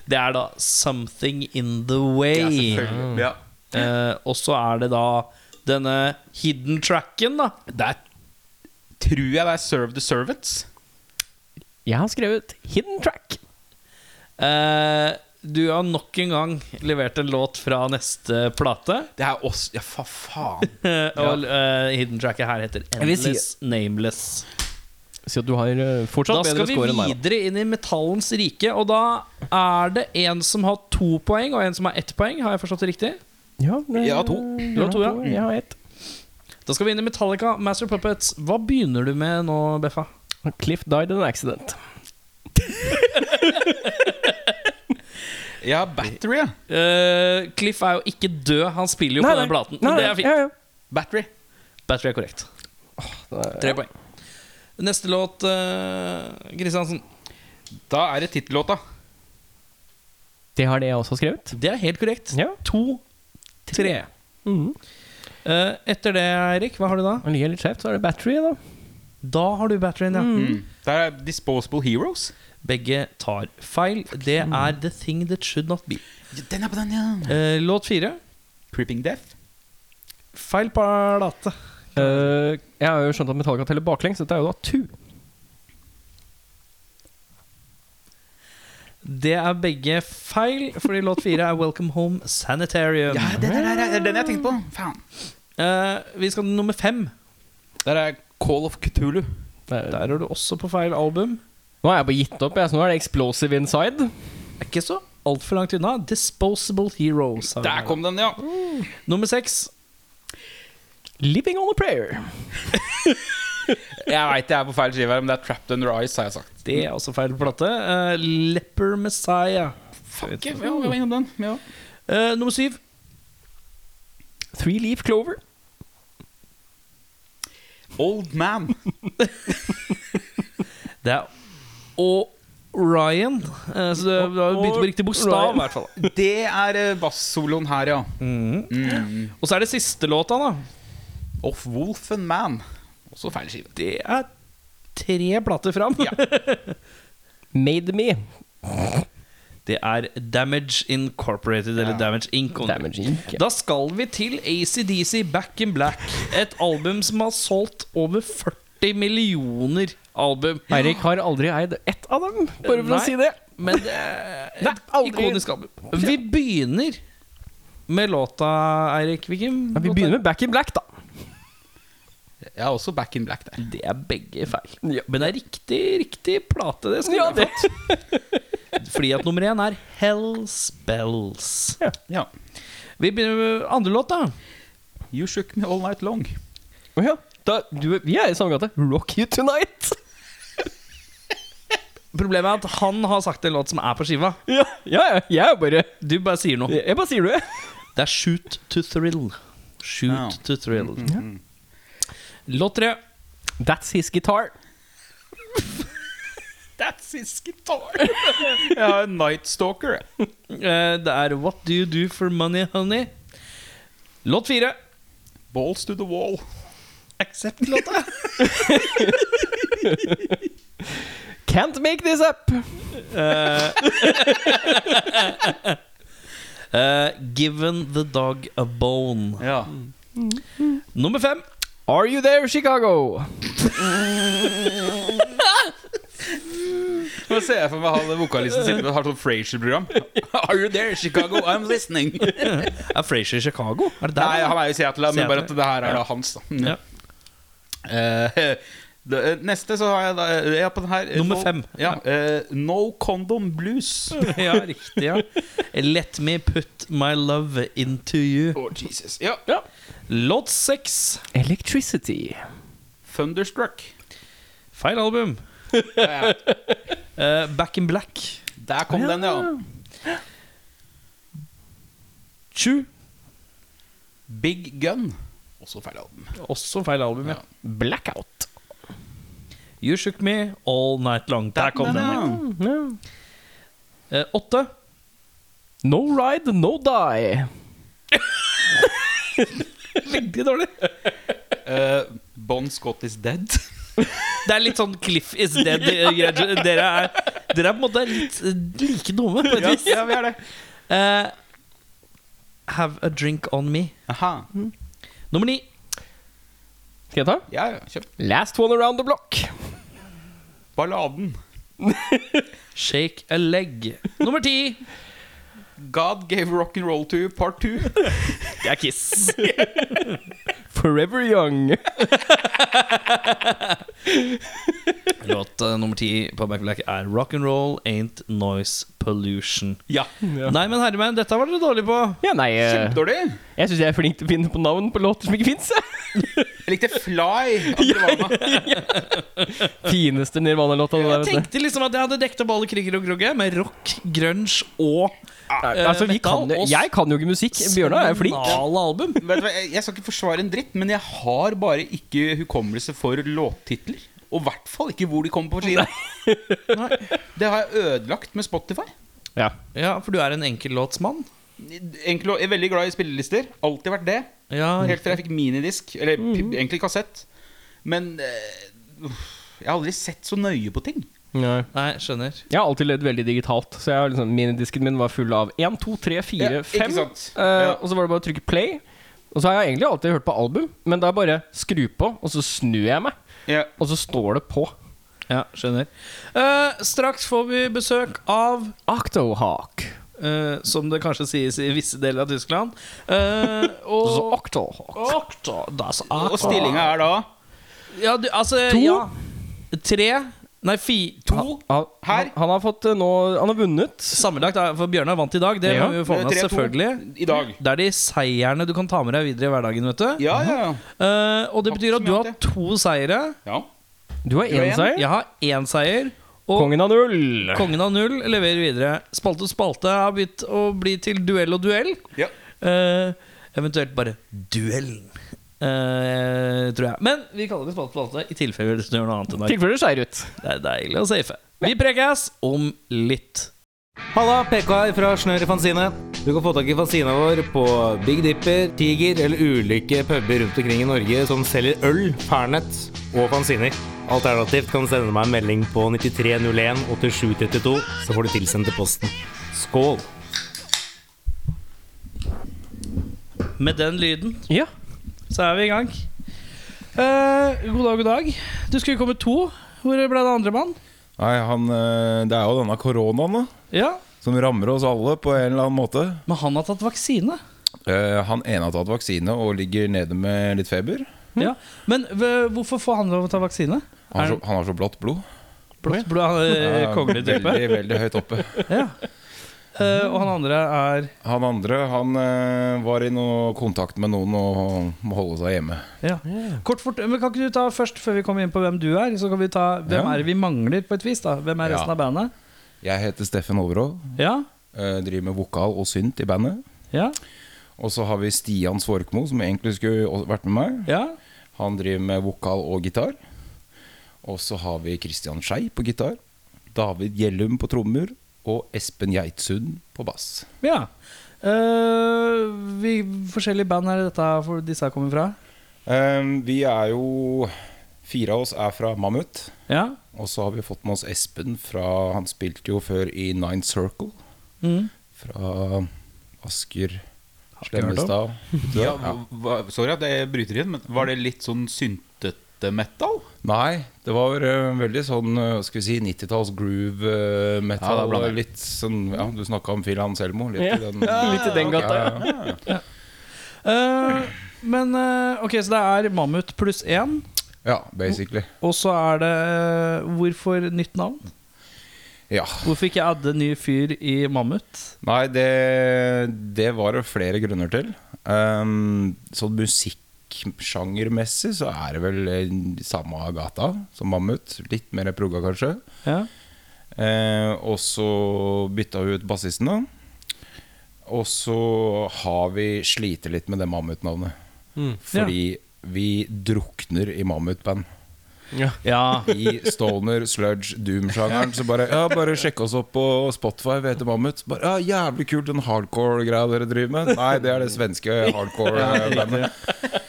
B: Det er da 'Something In The Way'.
C: Ja.
B: Eh, og så er det da denne hidden tracken, da.
C: Der tror jeg det er Serve the Servants.
A: Jeg har skrevet 'Hidden Track'.
B: Eh, du har nok en gang levert en låt fra neste plate.
C: Det er oss. Ja, fa faen.
B: Eh, og eh, hidden tracket her heter
A: Jeg vil si-
B: Endless Nameless.
A: Så du har eh, fortsatt
B: Da skal
A: bedre
B: vi
A: score enn meg. da.
B: videre inn i metallens rike, og da er det en som har to poeng, og en som har ett poeng. Har jeg forstått det riktig?
A: Ja, det-
C: Ja, to.
A: Du
B: Du
A: har
B: har to, ja.
A: Jeg har ett.
B: Da skal vi inn i Metallica, Master Puppets. Hva begynner du med nå, Beffa?
A: Cliff died in an accident.
C: Jeg har Battery, ja.
B: Eh, Cliff er jo ikke død, han spiller jo på den platen.
A: Nei,
B: det er fint.
A: Ja, ja.
C: Battery.
B: Battery er korrekt. Tre poeng. Neste låt, eh, Kristiansen.
C: Da er det tittellåta.
A: Det har det jeg også skrevet.
B: Det er helt korrekt.
A: Ja.
B: To, tre. Eh, etter det, Eirik, hva har du da?
A: Og ligger jeg litt skjevt, så er det battery, da.
B: Da har du batterien, ja.
C: Mm. Der er Disposable Heroes.
B: Begge tar feil. Det er The Thing That Should Not Be.
C: Den er på den, ja.
B: Eh, låt fire.
C: Creeping Death.
B: Feil plate.
A: Eh, jeg har jo skjønt at Metallica teller baklengs. Dette er jo da tu.
B: Det er begge feil, fordi låt fire er Welcome Home Sanitarium.
C: Ja, den er, det er den jeg tenkte på. Faen.
B: Eh, vi skal til nummer fem.
C: Der er Call of Cthulhu.
A: Det er-
B: Der er du også på feil album.
A: Nå har jeg bare gitt opp, jeg, så nå er det Explosive Inside.
B: Er ikke så altfor langt unna. Disposable Heroes. har vi
C: Der
B: her.
C: kom den, ja.
B: Nummer seks.
A: Living on a prayer.
C: Jeg veit jeg er på feil skive, her, men det er Trapped Under Ice, har jeg sagt.
B: Det er også feil plate. Eh, Leper Messiah.
C: Fuck, ja, vi var innom den. Ja.
B: Eh, nummer syv.
A: Three Leaf Clover.
C: Old Man.
B: Det er Orion. Eh, så det det var- begynte på riktig bokstav, i hvert fall.
C: Det er eh, bassoloen her, ja. Mm.
B: Og så er det siste låta, da.
C: Off Wolf and Man. Også feil skive.
B: Det er tre plater fram.
A: Made Me.
B: Det er Damage Incorporated, eller Damage Inc. om du vil.
A: Damage Inc.
B: Da skal vi til ACDC Back in Black. Et album som har solgt over 40 millioner album.
A: Eirik har aldri eid ett av dem, bare for å
B: Nei.
A: si det.
B: Men det er
A: Nei,
B: et
A: aldri.
B: ikonisk album. Vi begynner med låta, Eirik. Hvilken?
A: Ja, vi
B: låt er-
A: begynner med Back in Black, da.
C: Jeg er også Back in Black der.
B: Det er begge feil.
A: Ja.
B: Men det er riktig, riktig plate. Det skal
A: Ja,
B: vi ha fått. Fordi at nummer én er Hell Spells.
C: Ja.
B: Vi begynner med andre låt, da.
C: You Shook Me All Night Long.
A: Å ja. Da, du, vi er i samme gate. Rock You Tonight.
B: Problemet er at han har sagt en låt som er på skiva.
A: Ja, ja, ja, jeg er bare
B: Du bare sier noe.
A: Jeg bare sier det.
B: Det er Shoot to Thrill. Shoot
C: Ja. Mm,
B: to Thrill. Låt tre.
A: That's his guitar.
C: That's his guitar. jeg har Night Stalker. jeg.
B: Eh, Det er What Do You Do for Money, Honey. Låt fire.
C: Balls to the wall.
B: Accept-låta.
A: Can't make this up!
B: Eh, given the dog a bone.
C: Ja.
B: Nummer fem.
A: Are you there, Chicago?
C: Nå ser jeg for meg han vokalisten sitter og har sånn Frasier-program. Are you there, Chicago? I'm listening.
B: Er Frasier i Chicago? Er det der?
C: Nei, han er jo i Seattle, men
B: Seattle.
C: bare at det her er da hans, da.
B: Ja.
C: Eh, det- neste så har jeg da ja, på den her, eh,
B: Nummer
C: no,
B: fem.
C: Ja, eh, no Condom Blues.
B: ja, riktig, ja. Let me put my love into you.
C: Oh, Jesus. Ja.
B: Låt seks.
A: Electricity.
C: Thunderstruck.
B: Feil album.
C: Ja, ja.
B: Eh, Back in Black.
C: Der kom den, ja.
B: Sju.
C: Big Gun. Også feil album.
B: Også feil album, ja.
C: Ja.
A: Blackout.
B: You Shook Me All Night Long. Der kom den. ja. Eh, Åtte.
A: No ride, no die.
B: Veldig dårlig.
C: Eh, bon Scott is dead.
B: Det er litt sånn Cliff is dead. eh, grad- Dere er, dere er på en måte litt eh, like dumme, på et vis.
C: vi er det.
B: Eh, have a drink on me.
C: Aha.
B: Nummer ni.
A: Skal jeg ta?
C: Ja, ja, kjøp.
A: Last one around the block.
C: Balladen.
B: Shake a leg. Nummer ti.
C: God gave rock and roll to you, part two.
B: Eh. Det er Kiss.
A: Forever young.
B: Låt eh, nummer ti på Back Black er Rock and Roll Ain't Noise Pollution.
C: Ja.
B: Nei, men herremenn, dette var dere dårlige på.
A: Ja, nei eh,
C: Kjempedårlig.
A: Jeg syns jeg er flink til å finne på navn på låter som ikke fins.
C: Jeg likte Fly. av Nirvana.
A: Fineste Nirvana-låta. det der,
B: Jeg
A: vet du.
B: tenkte liksom at jeg hadde dekket opp alle kriger og grogge med rock, grunge og eh,
A: Altså, vi
B: metal
A: kan, jo-
B: og
A: jeg kan jo ikke musikk. Bjørnar er flink.
B: Alle album.
C: Vet du hva, jeg- Jeg skal ikke forsvare en dritt, men jeg har bare ikke hukommelse for låttitler. Og i hvert fall ikke hvor de kommer på skiva. Det har jeg ødelagt med Spotify.
A: Ja.
B: Ja, for du er en enkellåtsmann.
C: Enkel og, jeg er veldig glad i spillelister. Alltid vært det.
B: Ja,
A: Mm.
B: Mm.
C: Helt til jeg fikk minidisk, eller p- egentlig kassett. Men eh, uff, jeg har aldri sett så nøye på ting.
A: Nei.
B: Nei, skjønner.
A: Jeg har alltid levd veldig digitalt, så jeg har liksom, minidisken min var full av 1, 2, 3, 4,
C: Ja, ikke
A: 5.
C: sant?
A: eh,
C: Ja.
A: Og så var det bare å trykke play. Og så har jeg egentlig alltid hørt på album, men det er bare skru på, og så snur jeg meg,
C: Ja.
A: og så står det på.
B: Ja, skjønner. Eh, straks får vi besøk av
A: Octohawk.
B: eh, som det kanskje sies i visse deler av Tyskland. eh,
A: Så
B: og
A: Octohawk.
B: Okta, das Okta.
C: Og stillinga er da
B: ja, du, altså,
A: To?
B: Ja. Tre Nei, fi, to.
A: Han,
C: Her?
A: han, han har fått eh, nå Han har vunnet.
B: Sammenlagt, da, for Bjørnar vant i dag. Det
A: Ja.
B: må vi jo få med oss,
C: 3-2
B: selvfølgelig.
C: i dag.
B: Det er de seierne du kan ta med deg videre i hverdagen, vet du.
C: Ja, ja, ja.
B: Eh, og det
C: Takk
B: betyr
C: som
B: at du
C: jeg
B: har
C: alltid.
B: to seire.
C: ja.
A: Du har
C: Du har
A: én
C: en?
A: seier.
B: Jeg har én seier. Og
A: Kongen av null.
B: Kongen av null leverer videre. Spalte og spalte har begynt å bli til duell og duell.
C: ja.
B: Eh, eventuelt bare duellen, eh, tror jeg. Men vi kaller det spalte og spalte i tilfelle du gjør noe annet enn dag.
A: Tilfelle det skeier ut.
B: Det er deilig å safe. Vi prekes om litt.
D: Halla, PK her fra Snør i Fanzine. Du kan få tak i fanzina vår på Big Dipper, Tiger eller ulike puber rundt omkring i Norge som selger øl, Fernet og fanziner. Alternativt kan du sende meg en melding på 9301 8732, så får du tilsendt til posten. Skål!
B: Med den lyden
A: Ja.
B: så er vi i gang. Eh, god dag, god dag. Du skulle komme to. Hvor ble det andre mann?
E: Nei, han, eh, Det er jo denne koronaen da
B: Ja,
E: som rammer oss alle på en eller annen måte.
B: men han har tatt vaksine.
E: Eh, Han ene har tatt vaksine og ligger nede med litt feber.
B: Ja. Men v- hvorfor får han lov å ta vaksine?
E: Han har
B: Er
E: så, han har så blått blod.
B: Blått blod, han er
E: Ja,
B: kongelig type.
E: Veldig, veldig høyt oppe.
B: Ja. Eh, og han andre er
E: Han andre han eh, var i noe kontakt med noen og må holde seg hjemme.
B: ja. Kort fort, men Kan ikke du ta først, før vi kommer inn på hvem du er, så kan vi ta hvem
E: Ja.
B: er det vi mangler, på et vis? da? Hvem er
E: Ja.
B: resten av bandet?
E: Jeg heter Steffen Overhold.
B: Ja?
E: eh, Driver med vokal og synt i bandet.
B: Ja?
E: Og så har vi Stian Svorkmo, som egentlig skulle også vært med meg.
B: ja?
E: Han driver med vokal og gitar. Og så har vi Christian Skei på gitar. David Gjellum på trommer. Og Espen Geitsund på bass.
B: ja. Eh, vi, forskjellige band er det dette her for disse her kommer fra?
E: Ehm, vi er jo Fire av oss er fra Mammut.
B: Ja.
E: Og så har vi fått med oss Espen fra Han spilte jo før i Nine Circle.
B: Mm.
E: Fra Asker
B: ikke hørt om.
E: Slemmestad.
C: Ja, hva- sorry at jeg bryter inn, men var det litt sånn syntete metal?
E: Nei, det var eh, veldig sånn eh, skal vi si, 90-talls groove eh, metal.
C: Ja, det er blandet.
E: litt sånn, ja, Du snakka om Phil Anselmo. Litt
A: Ja,
E: i den,
A: litt i den gata,
E: Ja, ja, ja.
B: Eh, men eh, ok, så det er Mammut pluss én.
E: ja, basically.
B: Og så er det eh, Hvorfor nytt navn?
E: Ja.
B: Hvorfor ikke adde ny fyr i Mammut?
E: Nei, det, det var det flere grunner til. Um, sånn musikksjangermessig så er det vel eh, samme gata som Mammut. Litt mer progga, kanskje.
B: Ja.
E: Eh, og så bytta vi ut bassisten, da. Og så har vi slitt litt med det mammutnavnet. Fordi vi drukner i mammutband.
B: ja.
E: I stoner, sludge, doom-sjangeren. Så bare ja, bare sjekk oss opp på Spotify, vi heter Mammut. Bare, ja, Jævlig kult, den hardcore-greia dere driver med. Nei, det er det svenske hardcore-bandet.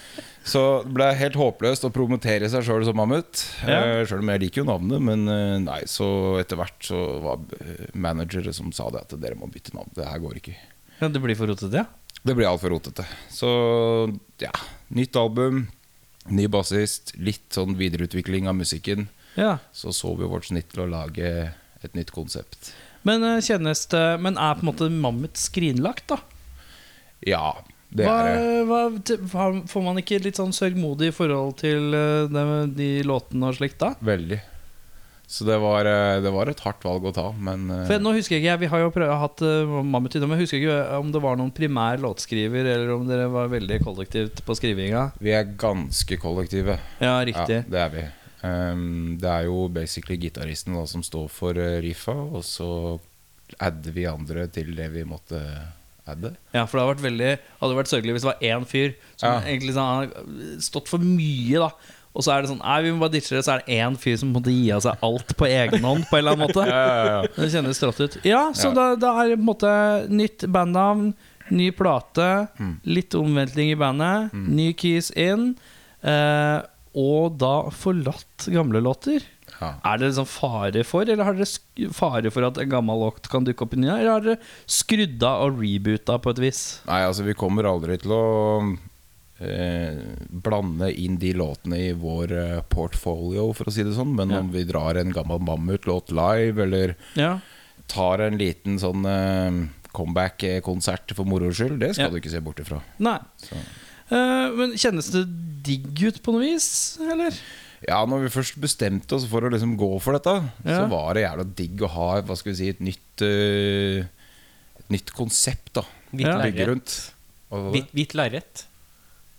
E: Så det ble helt håpløst å promotere seg sjøl som Mammut.
B: Ja.
E: Eh, Sjøl om jeg liker jo navnet, men eh, nei, så etter hvert så var eh, managere som sa det at dere må bytte navn. Det her går ikke.
B: Ja, det blir for rotete, ja.
E: Det blir altfor rotete. Så ja, nytt album, ny bassist, litt sånn videreutvikling av musikken
B: ja.
E: så så vi vårt snitt til å lage et nytt konsept.
B: Men, eh, kjennes det, men er på en måte Mammut skrinlagt, da?
E: Ja, det
B: Hva,
E: er det.
B: hva, t- har- får man ikke litt sånn sørgmodig i forhold til eh, de, de låtene og slikt da?
E: Veldig. Så det var, eh, det var et hardt valg å ta, men eh,
B: For jeg- nå husker jeg ikke, jeg- Vi har jo prøvd, hatt eh, Mammut i dag, men jeg husker ikke eh, om det var noen primær låtskriver, eller om dere var veldig kollektivt på skrivinga.
E: vi er ganske kollektive.
B: Ja,
E: Ja,
B: riktig.
E: det er vi. Ehm, det er jo basically gitaristen da, som står for eh, riffa, og så adder vi andre til det vi måtte adde.
B: Ja, for det hadde vært veldig Hadde vært sørgelig hvis det var én fyr som
E: Ja.
B: egentlig sånn, har stått for mye, da. Og så er det sånn Nei, vi må bare ditche det. Så er det én fyr som måtte gi av seg alt på egen hånd. På en eller annen måte Det kjennes trått ut. Ja, så
E: Ja.
B: Da, da er det på en måte nytt bandnavn, ny plate,
E: Mm.
B: litt omveltning i bandet, ny keys in, eh, og da forlatt gamle låter.
E: Ja.
B: Er det liksom fare for, eller har dere sk- fare for at en gammel låt kan dukke opp i ny? Eller har dere skrudd av og reboota på et vis?
E: Nei, altså vi kommer aldri til å eh, blande inn de låtene i vår eh, portfolio, for å si det sånn. Men om vi drar en gammel Mammut-låt live, eller
B: Ja
E: tar en liten sånn eh, comeback-konsert for moro skyld, det skal
B: Ja.
E: du ikke se bort ifra.
B: Nei.
E: Så.
B: Eh, men kjennes det digg ut på noe vis, eller?
E: Ja, når vi først bestemte oss for å liksom gå for dette, så
B: Ja.
E: var det jævla digg å ha hva skal vi si, et nytt, eh, et nytt konsept da
B: Ja.
E: å bygge
A: lerret.
E: rundt. Hva var det?
A: Hvitt, hvitt lerret.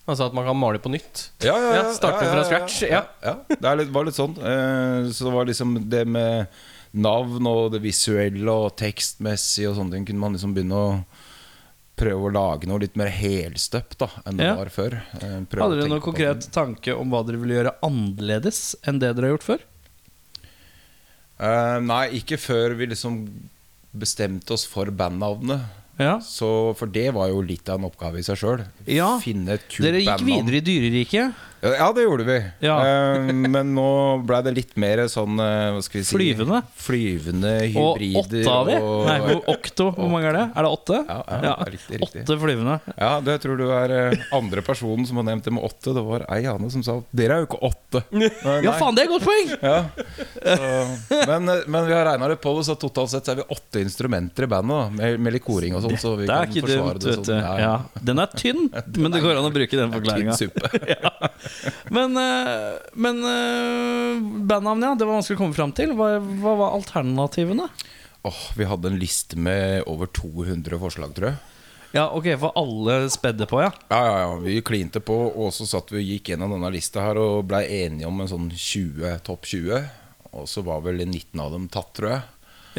A: Altså at man kan male på nytt.
E: Ja, ja, ja,
A: Starte
E: ja, ja,
A: fra
E: ja,
A: scratch. Ja.
E: Ja, ja. Det er litt, var litt sånn. Eh, så det var liksom det med navn og det visuelle og tekstmessig og sånne ting, kunne man liksom begynne å prøve å lage noe litt mer helstøpt da enn det
B: Ja.
E: var før. Eh, prøve å
B: Hadde dere
E: tenke
B: noen
E: på
B: konkret tanke om hva dere ville gjøre annerledes enn det dere har gjort før?
E: ting. Eh, nei, ikke før vi liksom bestemte oss for bandnavnet.
B: Ja.
E: Så, for det var jo litt av en oppgave i seg sjøl.
B: Ja.
E: Finne et kult
B: Dere gikk
E: bandnavn.
B: videre i dyreriket.
E: Ja, ja, det gjorde vi.
B: Ja.
E: Eh, men nå ble det litt mer sånn eh, hva skal vi si,
B: Flyvende.
E: Flyvende
B: Og
E: hybrider.
B: åtte av de.
E: og-
B: Nei, hvor- okto. Hvor mange er det? Er det åtte?
E: Ja, ja, riktig, riktig.
B: Åtte flyvende.
E: Ja, det tror du er eh, andre personen som har nevnt det med åtte. Det var ei Ane som sa 'dere er jo ikke åtte'. Nei,
B: Ja,
E: nei.
B: faen, det er et godt poeng!
E: Ja. Så, men, eh, men vi har regna litt på det, så totalt sett så er vi åtte instrumenter i bandet. da, Med, med litt koring og sånn, så vi
B: Det er
E: kan
B: ikke
E: forsvare
B: dumt,
E: det
B: vet du.
E: sånn. Ja,
B: Ja. Den er tynn, men det går an å bruke den
E: Tynn
B: forklaringa.
E: suppe.
B: Men, eh, men eh, bandnavnet, ja. Det var vanskelig å komme fram til. Hva, hva var alternativene?
E: Åh, vi hadde en liste med over 200 forslag, tror jeg.
B: Ja, ok, for alle spedde på, ja.
E: Ja, ja, ja, Vi klinte på, og så satt vi og gikk gjennom denne lista her og blei enige om en sånn 20, topp 20. Og så var vel 19 av dem tatt, tror jeg.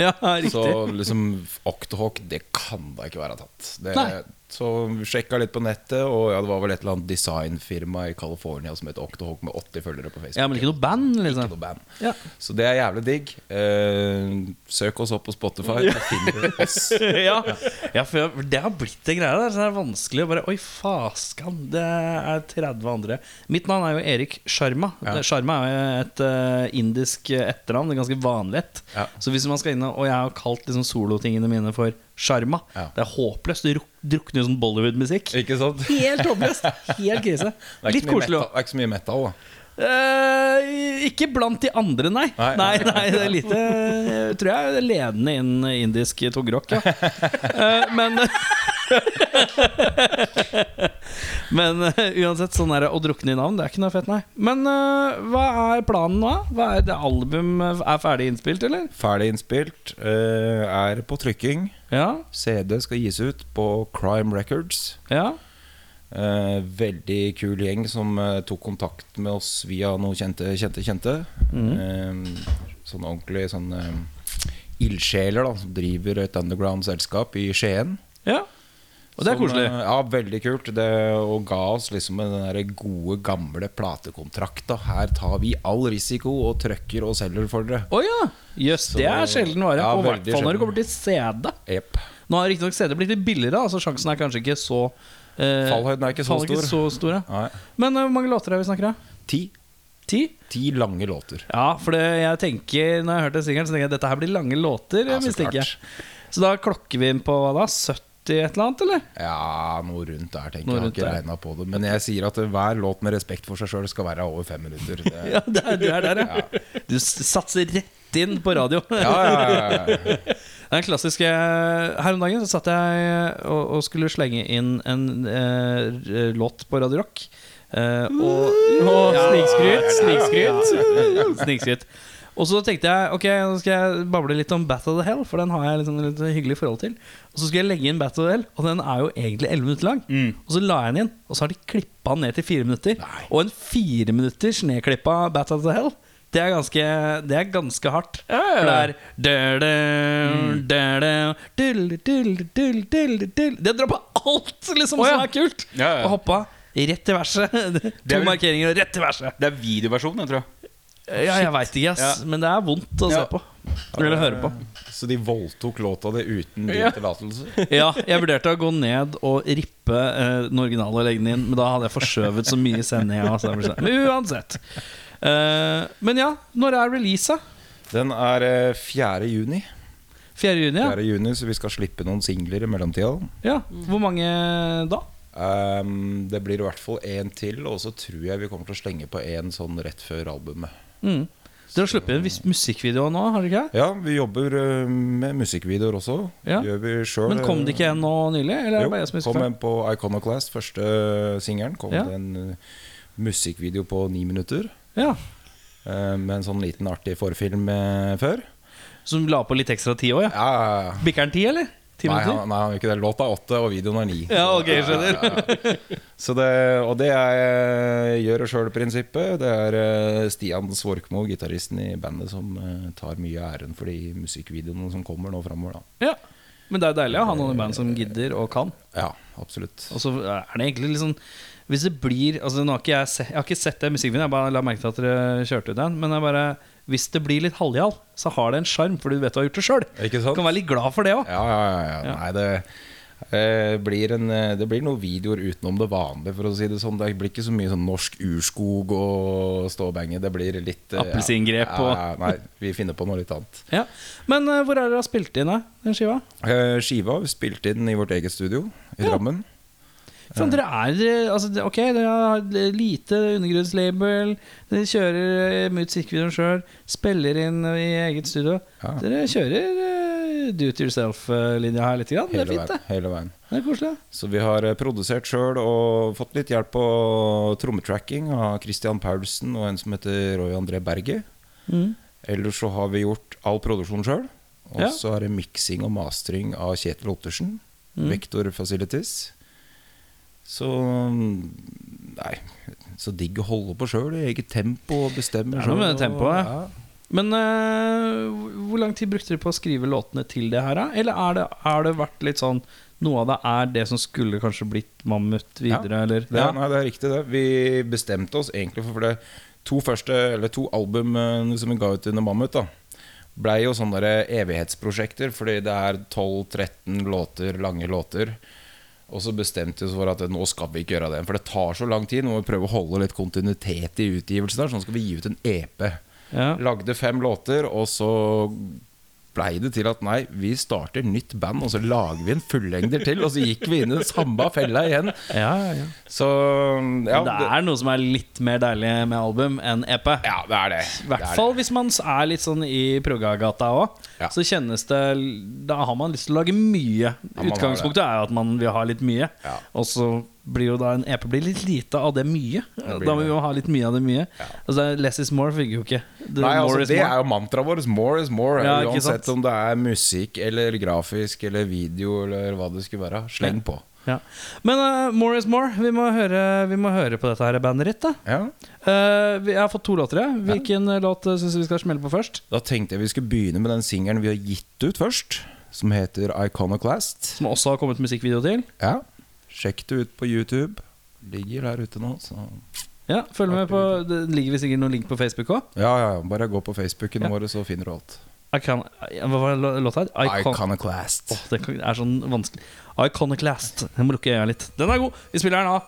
B: Ja, riktig.
E: Så liksom Octohawk, det kan da ikke være tatt. Det,
B: Nei.
E: Så sjekka litt på nettet, og ja, det var vel et eller annet designfirma i California som het Octohawk med 80 følgere på Facebook.
B: Ja, men ikke noe band,
E: Ikke
B: liksom.
E: noe band.
B: Ja.
E: Så det er jævlig digg. Eh, søk oss opp på Spotify. Da finner du oss.
B: ja. ja, for for det har blitt en greie der. Så det er vanskelig å bare Oi, faskan, det er 30 andre. Mitt navn er jo Erik Sharma. Det- Sharma er jo et eh, indisk eh, etternavn. Det er ganske vanlig et.
E: Ja.
B: Så hvis man skal inn og Og jeg har kalt liksom solotingene mine for Sharma.
E: Ja.
B: Det er håpløst. Det ruk- drukner jo sånn Bollywood-musikk.
E: Ikke sant? Det
B: Helt håpløst. Helt krise.
E: er ikke
B: Litt
E: så mye
B: koselig òg.
E: metal- det er ikke så mye metal, da.
B: Eh, ikke blant de andre, nei. Nei,
E: Nei,
B: nei,
E: nei.
B: det er lite eh, Tror jeg er ledende innen indisk togrock, ja. Eh, men Men eh, uansett, sånn er det å drukne i navn. Det er ikke noe fett, nei. Men eh, hva er planen nå? Hva er det album eh, er ferdig innspilt, eller?
E: Ferdig innspilt. eh, er på trykking.
B: Ja?
E: CD skal gis ut på Crime Records.
B: Ja?
E: Eh, veldig kul gjeng som eh, tok kontakt med oss via noe kjente, kjente, kjente.
B: Mm.
E: Eh, sånn ordentlig sånn eh, ildsjeler da, som driver et underground-selskap i Skien.
B: Ja? Og det er
E: Som,
B: koselig.
E: eh, Ja, veldig kult. Det, og ga oss liksom den der gode, gamle platekontrakta. Her tar vi all risiko og trøkker og selger for dere.
B: Å ja! Jøss, det er sjelden vare.
E: Ja,
B: og i hvert
E: veldig
B: fall når det
E: sjelden.
B: kommer til CD.
E: Jep.
B: Nå har riktignok CD blitt litt billigere, da, så sjansen er kanskje ikke så eh,
E: Fallhøyden er ikke så
B: fallen
E: stor.
B: så stor, ja.
E: Nei.
B: Men eh, hvor mange låter er vi snakker om?
E: Ti.
B: Ti?
E: Ti lange låter.
B: Ja, for det, jeg tenker når jeg hørte singelen, så tenker jeg at dette her blir lange låter.
E: Ja, så
B: mistenker
E: klart.
B: jeg. Så da klokker vi inn på hva da? 70 et eller annet, eller?
E: Ja, noe rundt der, tenker jeg.
B: Noe
E: Jeg har
B: rundt
E: ikke
B: der.
E: regna på det. Men jeg sier at eh, hver låt med respekt for seg sjøl skal være over fem minutter. Det, ja,
B: Ja, det er, du er der, ja. Du s- satser rett inn på radio.
E: ja, ja, ja, ja.
B: Den klassiske eh, Her om dagen så satt jeg eh, og, og skulle slenge inn en eh, låt på Radio Rock. Eh, og og
A: Snikskryt,
B: snikskryt. Snikskryt. Og så tenkte jeg ok, nå skal jeg bable litt om Battle of the Hell, for den har jeg liksom litt hyggelig forhold til. Og så skulle jeg legge inn Battle of the Hell, og den er jo egentlig 11 minutter lang.
C: Mm.
B: Og så la jeg den inn, og så har de klippa den ned til 4 minutter. Og en 4 minutters nedklippa Battle of the Hell, det er ganske, det er ganske hardt. For det er dø-dø,
C: Mm.
B: dø-dø, dull, dull, dull, dull, dull. Det drar på alt liksom,
A: Å, ja.
B: som er kult!
C: Ja, ja.
B: Og hoppa rett til verset.
C: Det er
B: To
C: vel-
B: markeringer og rett til verset.
C: Det er videoversjonen, jeg tror jeg.
B: Eh, Ja, jeg veit ikke, ass.
C: Ja.
B: Men det er vondt å
C: Ja.
B: se på. Eller høre på.
E: Så de voldtok låta di uten din tillatelse?
B: Ja, jeg vurderte å gå ned og rippe eh, den originale og legge den inn, men da hadde jeg forskjøvet så mye sending. jeg, Altså, jeg ble sånn. men uansett. Eh, men ja, når er releaset?
E: Den er eh, 4. juni.
B: 4. juni? Ja.
E: 4. juni, så vi skal slippe noen singler i mellomtida.
B: ja. Hvor mange da?
E: Ehm, det blir i hvert fall én til, og så tror jeg vi kommer til å slenge på én sånn rett før albumet.
B: Mm. Dere har sluppet en viss musikkvideo nå, har dere ikke?
E: Ja, vi jobber eh, med musikkvideoer også.
B: Ja.
E: Gjør vi selv.
B: Men kom det ikke en nå nylig? Eller er det bare jeg som
E: Jo,
B: husker
E: kom
B: feil?
E: en på Iconoclast, første singelen. Kom
B: Ja.
E: det en eh, musikkvideo på ni minutter.
B: Ja.
E: eh, Med en sånn liten artig forfilm eh, før.
B: Som la på litt ekstra tid òg, ja?
E: Ja, ja, ja.
B: Bikker den ti, eller? Ti
E: Nei,
B: minutter?
E: han, nei, han gjør ikke det. Låta er åtte, og videoen er ni.
B: Ja, ok, skjønner.
E: Så det, og det er eh, gjør det sjøl-prinsippet. Det er eh, Stian Svorkmo, gitaristen i bandet, som eh, tar mye av æren for de musikkvideoene som kommer nå framover.
B: Ja. Men det er deilig å ha noen i band som gidder og kan.
E: Ja, absolutt.
B: Og så er det egentlig litt sånn Hvis det blir altså nå har ikke jeg, se, jeg har ikke sett det musikkvideoen, jeg bare la merke til at dere kjørte ut den. Men jeg bare hvis det blir litt halvjall, så har det en sjarm, for du vet du har gjort det sjøl.
E: Ikke
B: Du
E: sant?
B: kan være litt glad for det òg.
E: Ja, ja, ja, ja. Nei, det eh, blir, en, eh, det blir noen videoer utenom det vanlige, for å si det sånn. Det blir ikke så mye sånn norsk urskog og ståbange. Det blir litt eh,
B: Appelsingrep
E: ja,
B: og-
E: ja, Nei, vi finner på noe litt annet.
B: Ja. Men eh, hvor er det dere har spilt inn da, den skiva?
E: Eh, Skiva vi spilte inn i vårt eget studio i
B: Ja.
E: Drammen.
B: For Sånn, dere er dere- altså, det- Ok, dere har lite undergrunnslabel, dere kjører eh, musikkvideoen sjøl, spiller inn i eget studio.
E: Ja.
B: Dere kjører eh, do it yourself-linja her lite grann. Det er
E: Hele
B: fint, det.
E: veien, hele veien.
B: Det er koselig.
E: Så vi har eh, produsert sjøl og fått litt hjelp på trommetracking av Christian Paulsen og en som heter Roy André Berge.
B: Mm.
E: Ellers så har vi gjort all produksjon sjøl. Og
B: Ja.
E: så er det miksing og mastering av Kjetil Ottersen.
B: Mm.
E: Vektor Facilities. Så mm, Nei, så digg å holde på sjøl i eget tempo og bestemme
B: Det er noe med
E: selv,
B: det tempoet.
E: og-
B: Men eh, hvor- hvor lang tid brukte dere på å skrive låtene til det her, da? Eller er det, er det vært litt sånn Noe av det er det som skulle kanskje blitt Mammut videre, eller?
E: Det, Nei, det er riktig, det. Vi bestemte oss egentlig for for det. To første, eller to album eh, som vi ga ut under Mammut, da blei jo sånne der evighetsprosjekter, fordi det er 12-13 låter, lange låter. Og så bestemte vi oss for at nå skal vi ikke gjøre det. For det tar så lang tid. Nå må vi prøve å holde litt kontinuitet i utgivelsen. der Sånn skal vi gi ut en EP.
B: Ja.
E: Lagde fem låter, og så blei det til at nei, vi starter nytt band, og så lager vi en fullengder til. Og så gikk vi inn i den samme fella igjen.
B: Ja, ja, ja.
E: Så ja,
B: Men det er noe som er litt mer deilig med album enn E EP.
E: ja, det er det.
B: I hvert fall hvis man er litt sånn i progagata òg.
E: Ja.
B: Så kjennes det Da har man lyst til å lage mye.
E: man har
B: Utgangspunktet er jo at man vil ha litt mye.
E: Ja.
B: Og så blir jo da en EP blir litt lite av det mye.
E: blir
B: Da må vi jo ha litt mye av det mye. Altså, less is more funker jo ikke. The
E: Nei,
B: more
E: altså,
B: is
E: det
B: more.
E: er jo mantraet vårt. More is more.
B: Ja, ikke
E: uansett
B: sant?
E: om det er musikk eller grafisk eller video eller hva det skulle være. Sleng på.
B: Ja. Men eh, more is more. Vi må høre, vi må høre på dette her bandet ditt, da.
E: Ja.
B: Eh, vi, jeg har fått to låter, jeg. Hvilken eh, låt uh, syns du vi skal smelle på først?
E: Da tenkte jeg vi skulle begynne med den singelen vi har gitt ut først, som heter Iconoclast.
B: Som også har kommet musikkvideo til.
E: Ja. Sjekk det ut på YouTube. Ligger der ute nå, så
B: Ja, følg med på Det ligger visst sikkert noen link på Facebook òg.
E: Ja, ja, ja. Bare gå på Facebooken
B: Ja.
E: vår, så finner du alt.
B: Icon, hva var lå- låta her? Icon,
E: Iconoclast.
B: Åh, det kan- er sånn vanskelig. Iconoclast. Jeg må lukke øya litt. Den er god! Vi spiller den av.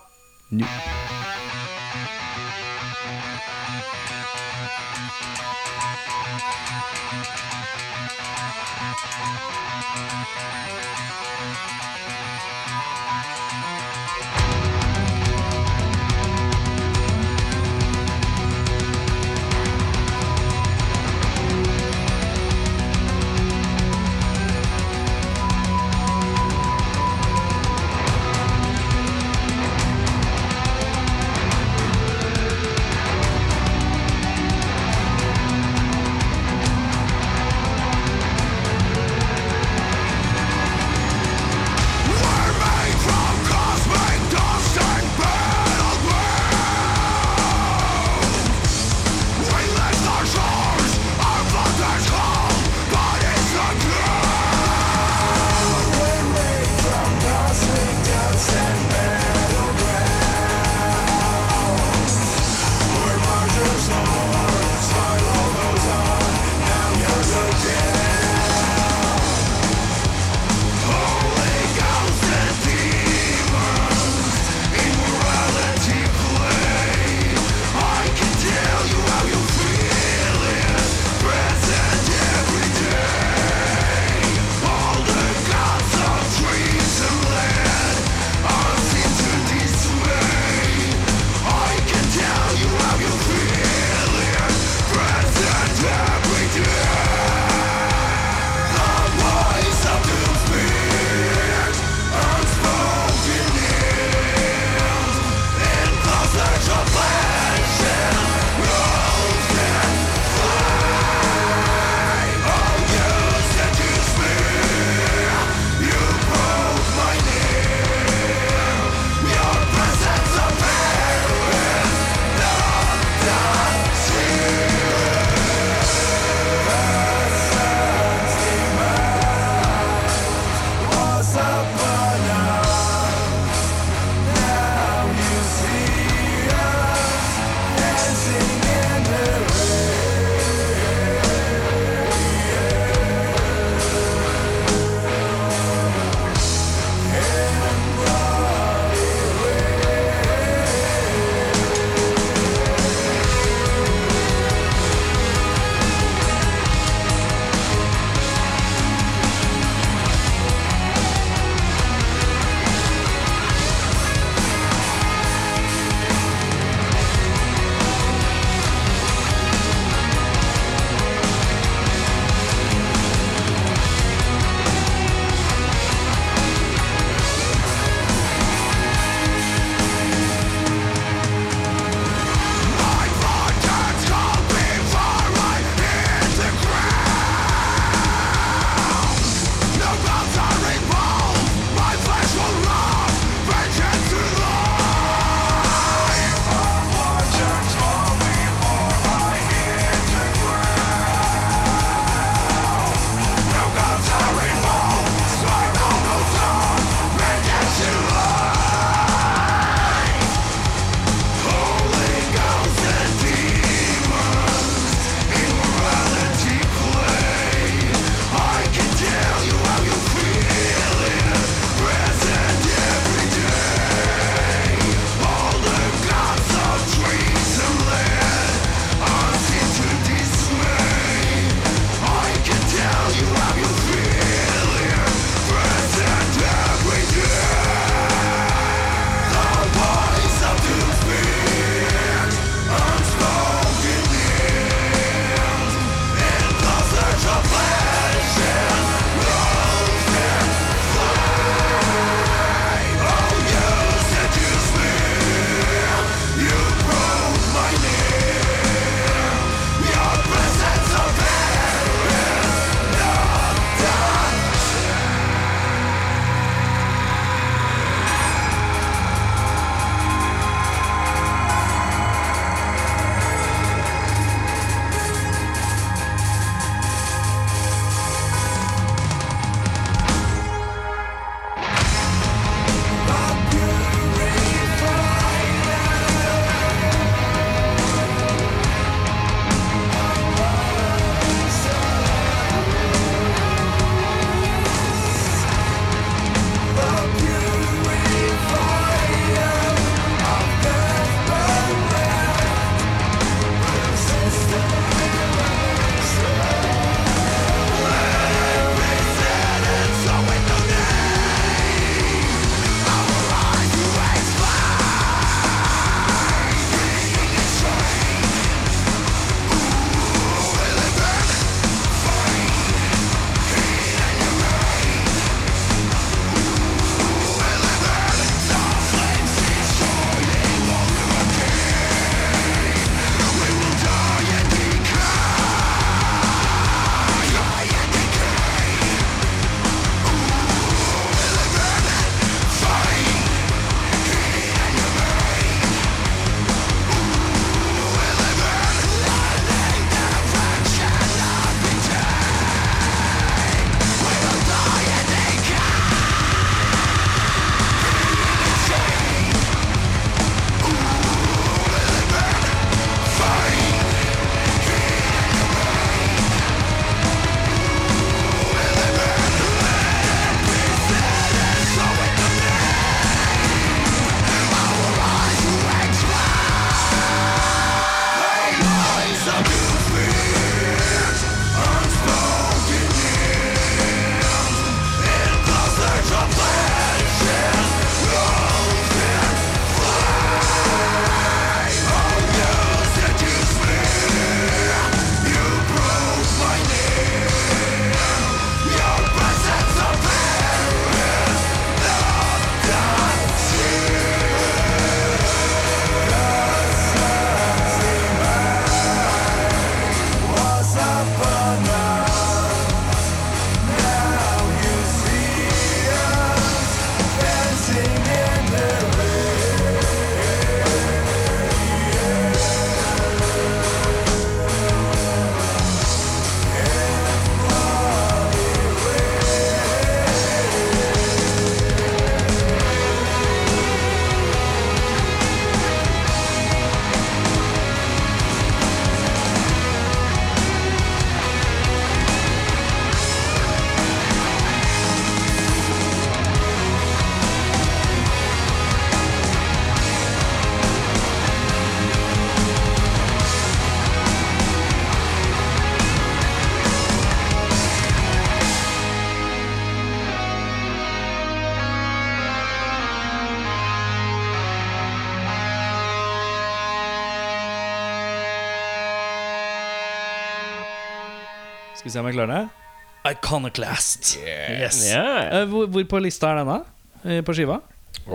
B: Skal vi se om jeg klarer det Iconoclast yes.
A: Yeah.
B: Eh, hvor, hvor på lista er denne? Eh, på skiva?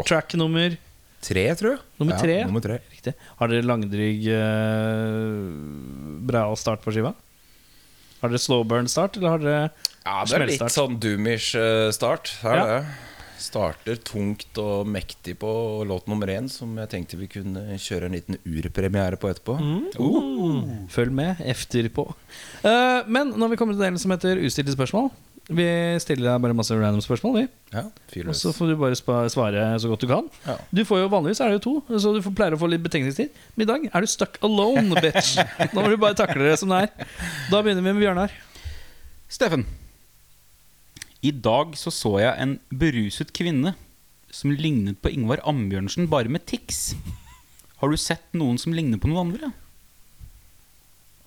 B: Track nummer
E: Tre, tror jeg.
B: Nummer tre, ja.
E: Ja, nummer tre.
B: Riktig Har dere langdrygg eh, bra start på skiva? Har dere slow burn start? Eller har dere
E: Ja, det er litt
B: Smellstart.
E: sånn doomish eh, start. Her
B: Ja.
E: er det. Starter tungt og mektig på låt nummer én, som jeg tenkte vi kunne kjøre en liten urpremiere på etterpå.
B: Mm. Følg med efterpå. Eh, men nå har vi kommet til delen som heter ustilte spørsmål. Vi stiller deg bare masse random spørsmål, vi.
E: Ja, fyr
B: Og
E: løs.
B: så får du bare spa- svare så godt du kan.
E: Ja.
B: Du får jo Vanligvis er det jo to, så du får, pleier å få litt betenkningstid. Men i dag er du stuck alone, bitch. Nå må du bare takle det som det er. Da begynner vi med Bjørnar.
C: Steffen. I dag så så jeg en beruset kvinne som lignet på Ingvar Ambjørnsen, bare med tics. Har du sett noen som ligner på noen andre?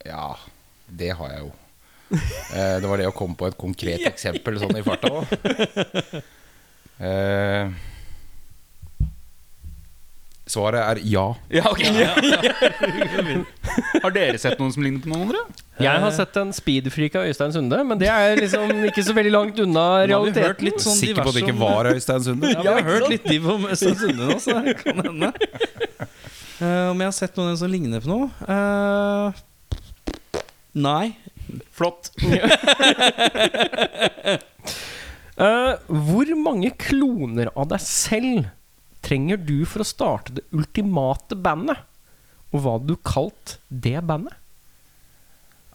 E: Ja, det har jeg jo. Eh, det var det å komme på et konkret eksempel sånn i farta òg. Eh, svaret er ja.
C: Ja, ok Har dere sett noen som ligner på noen andre?
A: Jeg har sett en speedfreak av Øystein Sunde, men det er liksom ikke så veldig langt unna
B: Nå har vi hørt
A: realiteten.
B: litt sånn
E: Sikker på at det
B: diverse
E: ikke
B: om-
E: var Øystein Sunde?
B: Ja, vi har hørt litt div om Øystein Sunde nå, så det kan hende. Eh, om jeg har sett noen som ligner på noe? Eh, nei.
C: Flott.
A: Eh, hvor mange kloner av deg selv trenger du for å starte det ultimate bandet? Og hva hadde du kalt det bandet?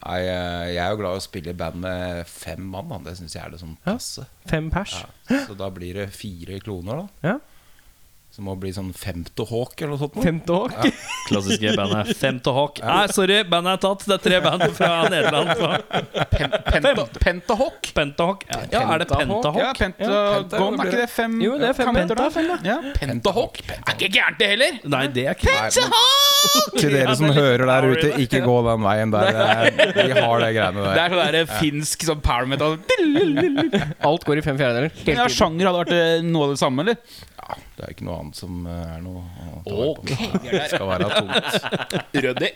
E: Nei, eh, jeg er jo glad i å spille i band med fem mann. Da. Det syns jeg er det sånn passe.
A: Fem pers?
E: Så da blir det fire kloner, da.
A: Ja.
E: Som må bli sånn femte hawk eller noe sånt. noe.
A: Femte Hawk?
B: Klassiske bandet Femte Hawk. Nei, sorry, bandet er tatt. Det er tre band fra Nederland.
C: Pen penta pentahawk?
B: Pentahawk. Ja, ja, er det Pentahawk?
C: Ja, pentagon. Er ikke det fem
A: Jo, det er fem penter,
C: kameter, da?
A: da, fem, da.
C: Ja, Pentahawk. Er ikke gærent, det heller!
B: Nei, det er ikke
E: Til dere som hører der ute, ikke gå den veien der. Det er- Vi har det greiene
C: Det
E: der.
C: er sånn der finsk sånn power metal.
A: Alt går i fem fjerdedeler.
C: Ja,
A: Hele tiden.
C: sjanger hadde vært eh, noe av det samme, eller?
E: Ja, det er ikke noe annet som eh, er noe å ta vare på.
C: Ok, vi
E: Det
C: er
E: skal være tungt.
C: der. Ryddig.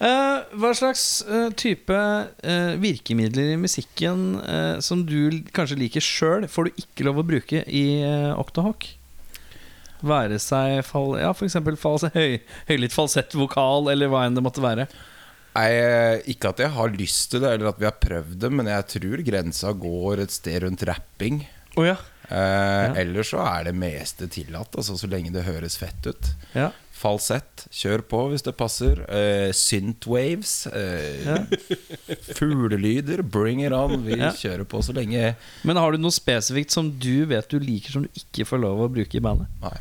B: Eh, hva slags eh, type eh, virkemidler i musikken eh, som du l- kanskje liker sjøl, får du ikke lov å bruke i uh, Octahawk? Være seg fall, ja, for eksempel fals, høy, høylytt falsett vokal, eller hva enn det måtte være.
E: Nei, eh, ikke at jeg har lyst til det, eller at vi har prøvd det, men jeg tror grensa går et sted rundt rapping.
A: Å ja.
E: Eh, Ellers så er det meste tillatt, altså, så lenge det høres fett ut.
B: Ja.
E: Falsett, kjør på hvis det passer. Eh, Synthwaves, eh, fuglelyder, bring it on. Vi
B: Ja.
E: kjører på så lenge
B: Men har du noe spesifikt som du vet du liker, som du ikke får lov å bruke i bandet?
E: Nei,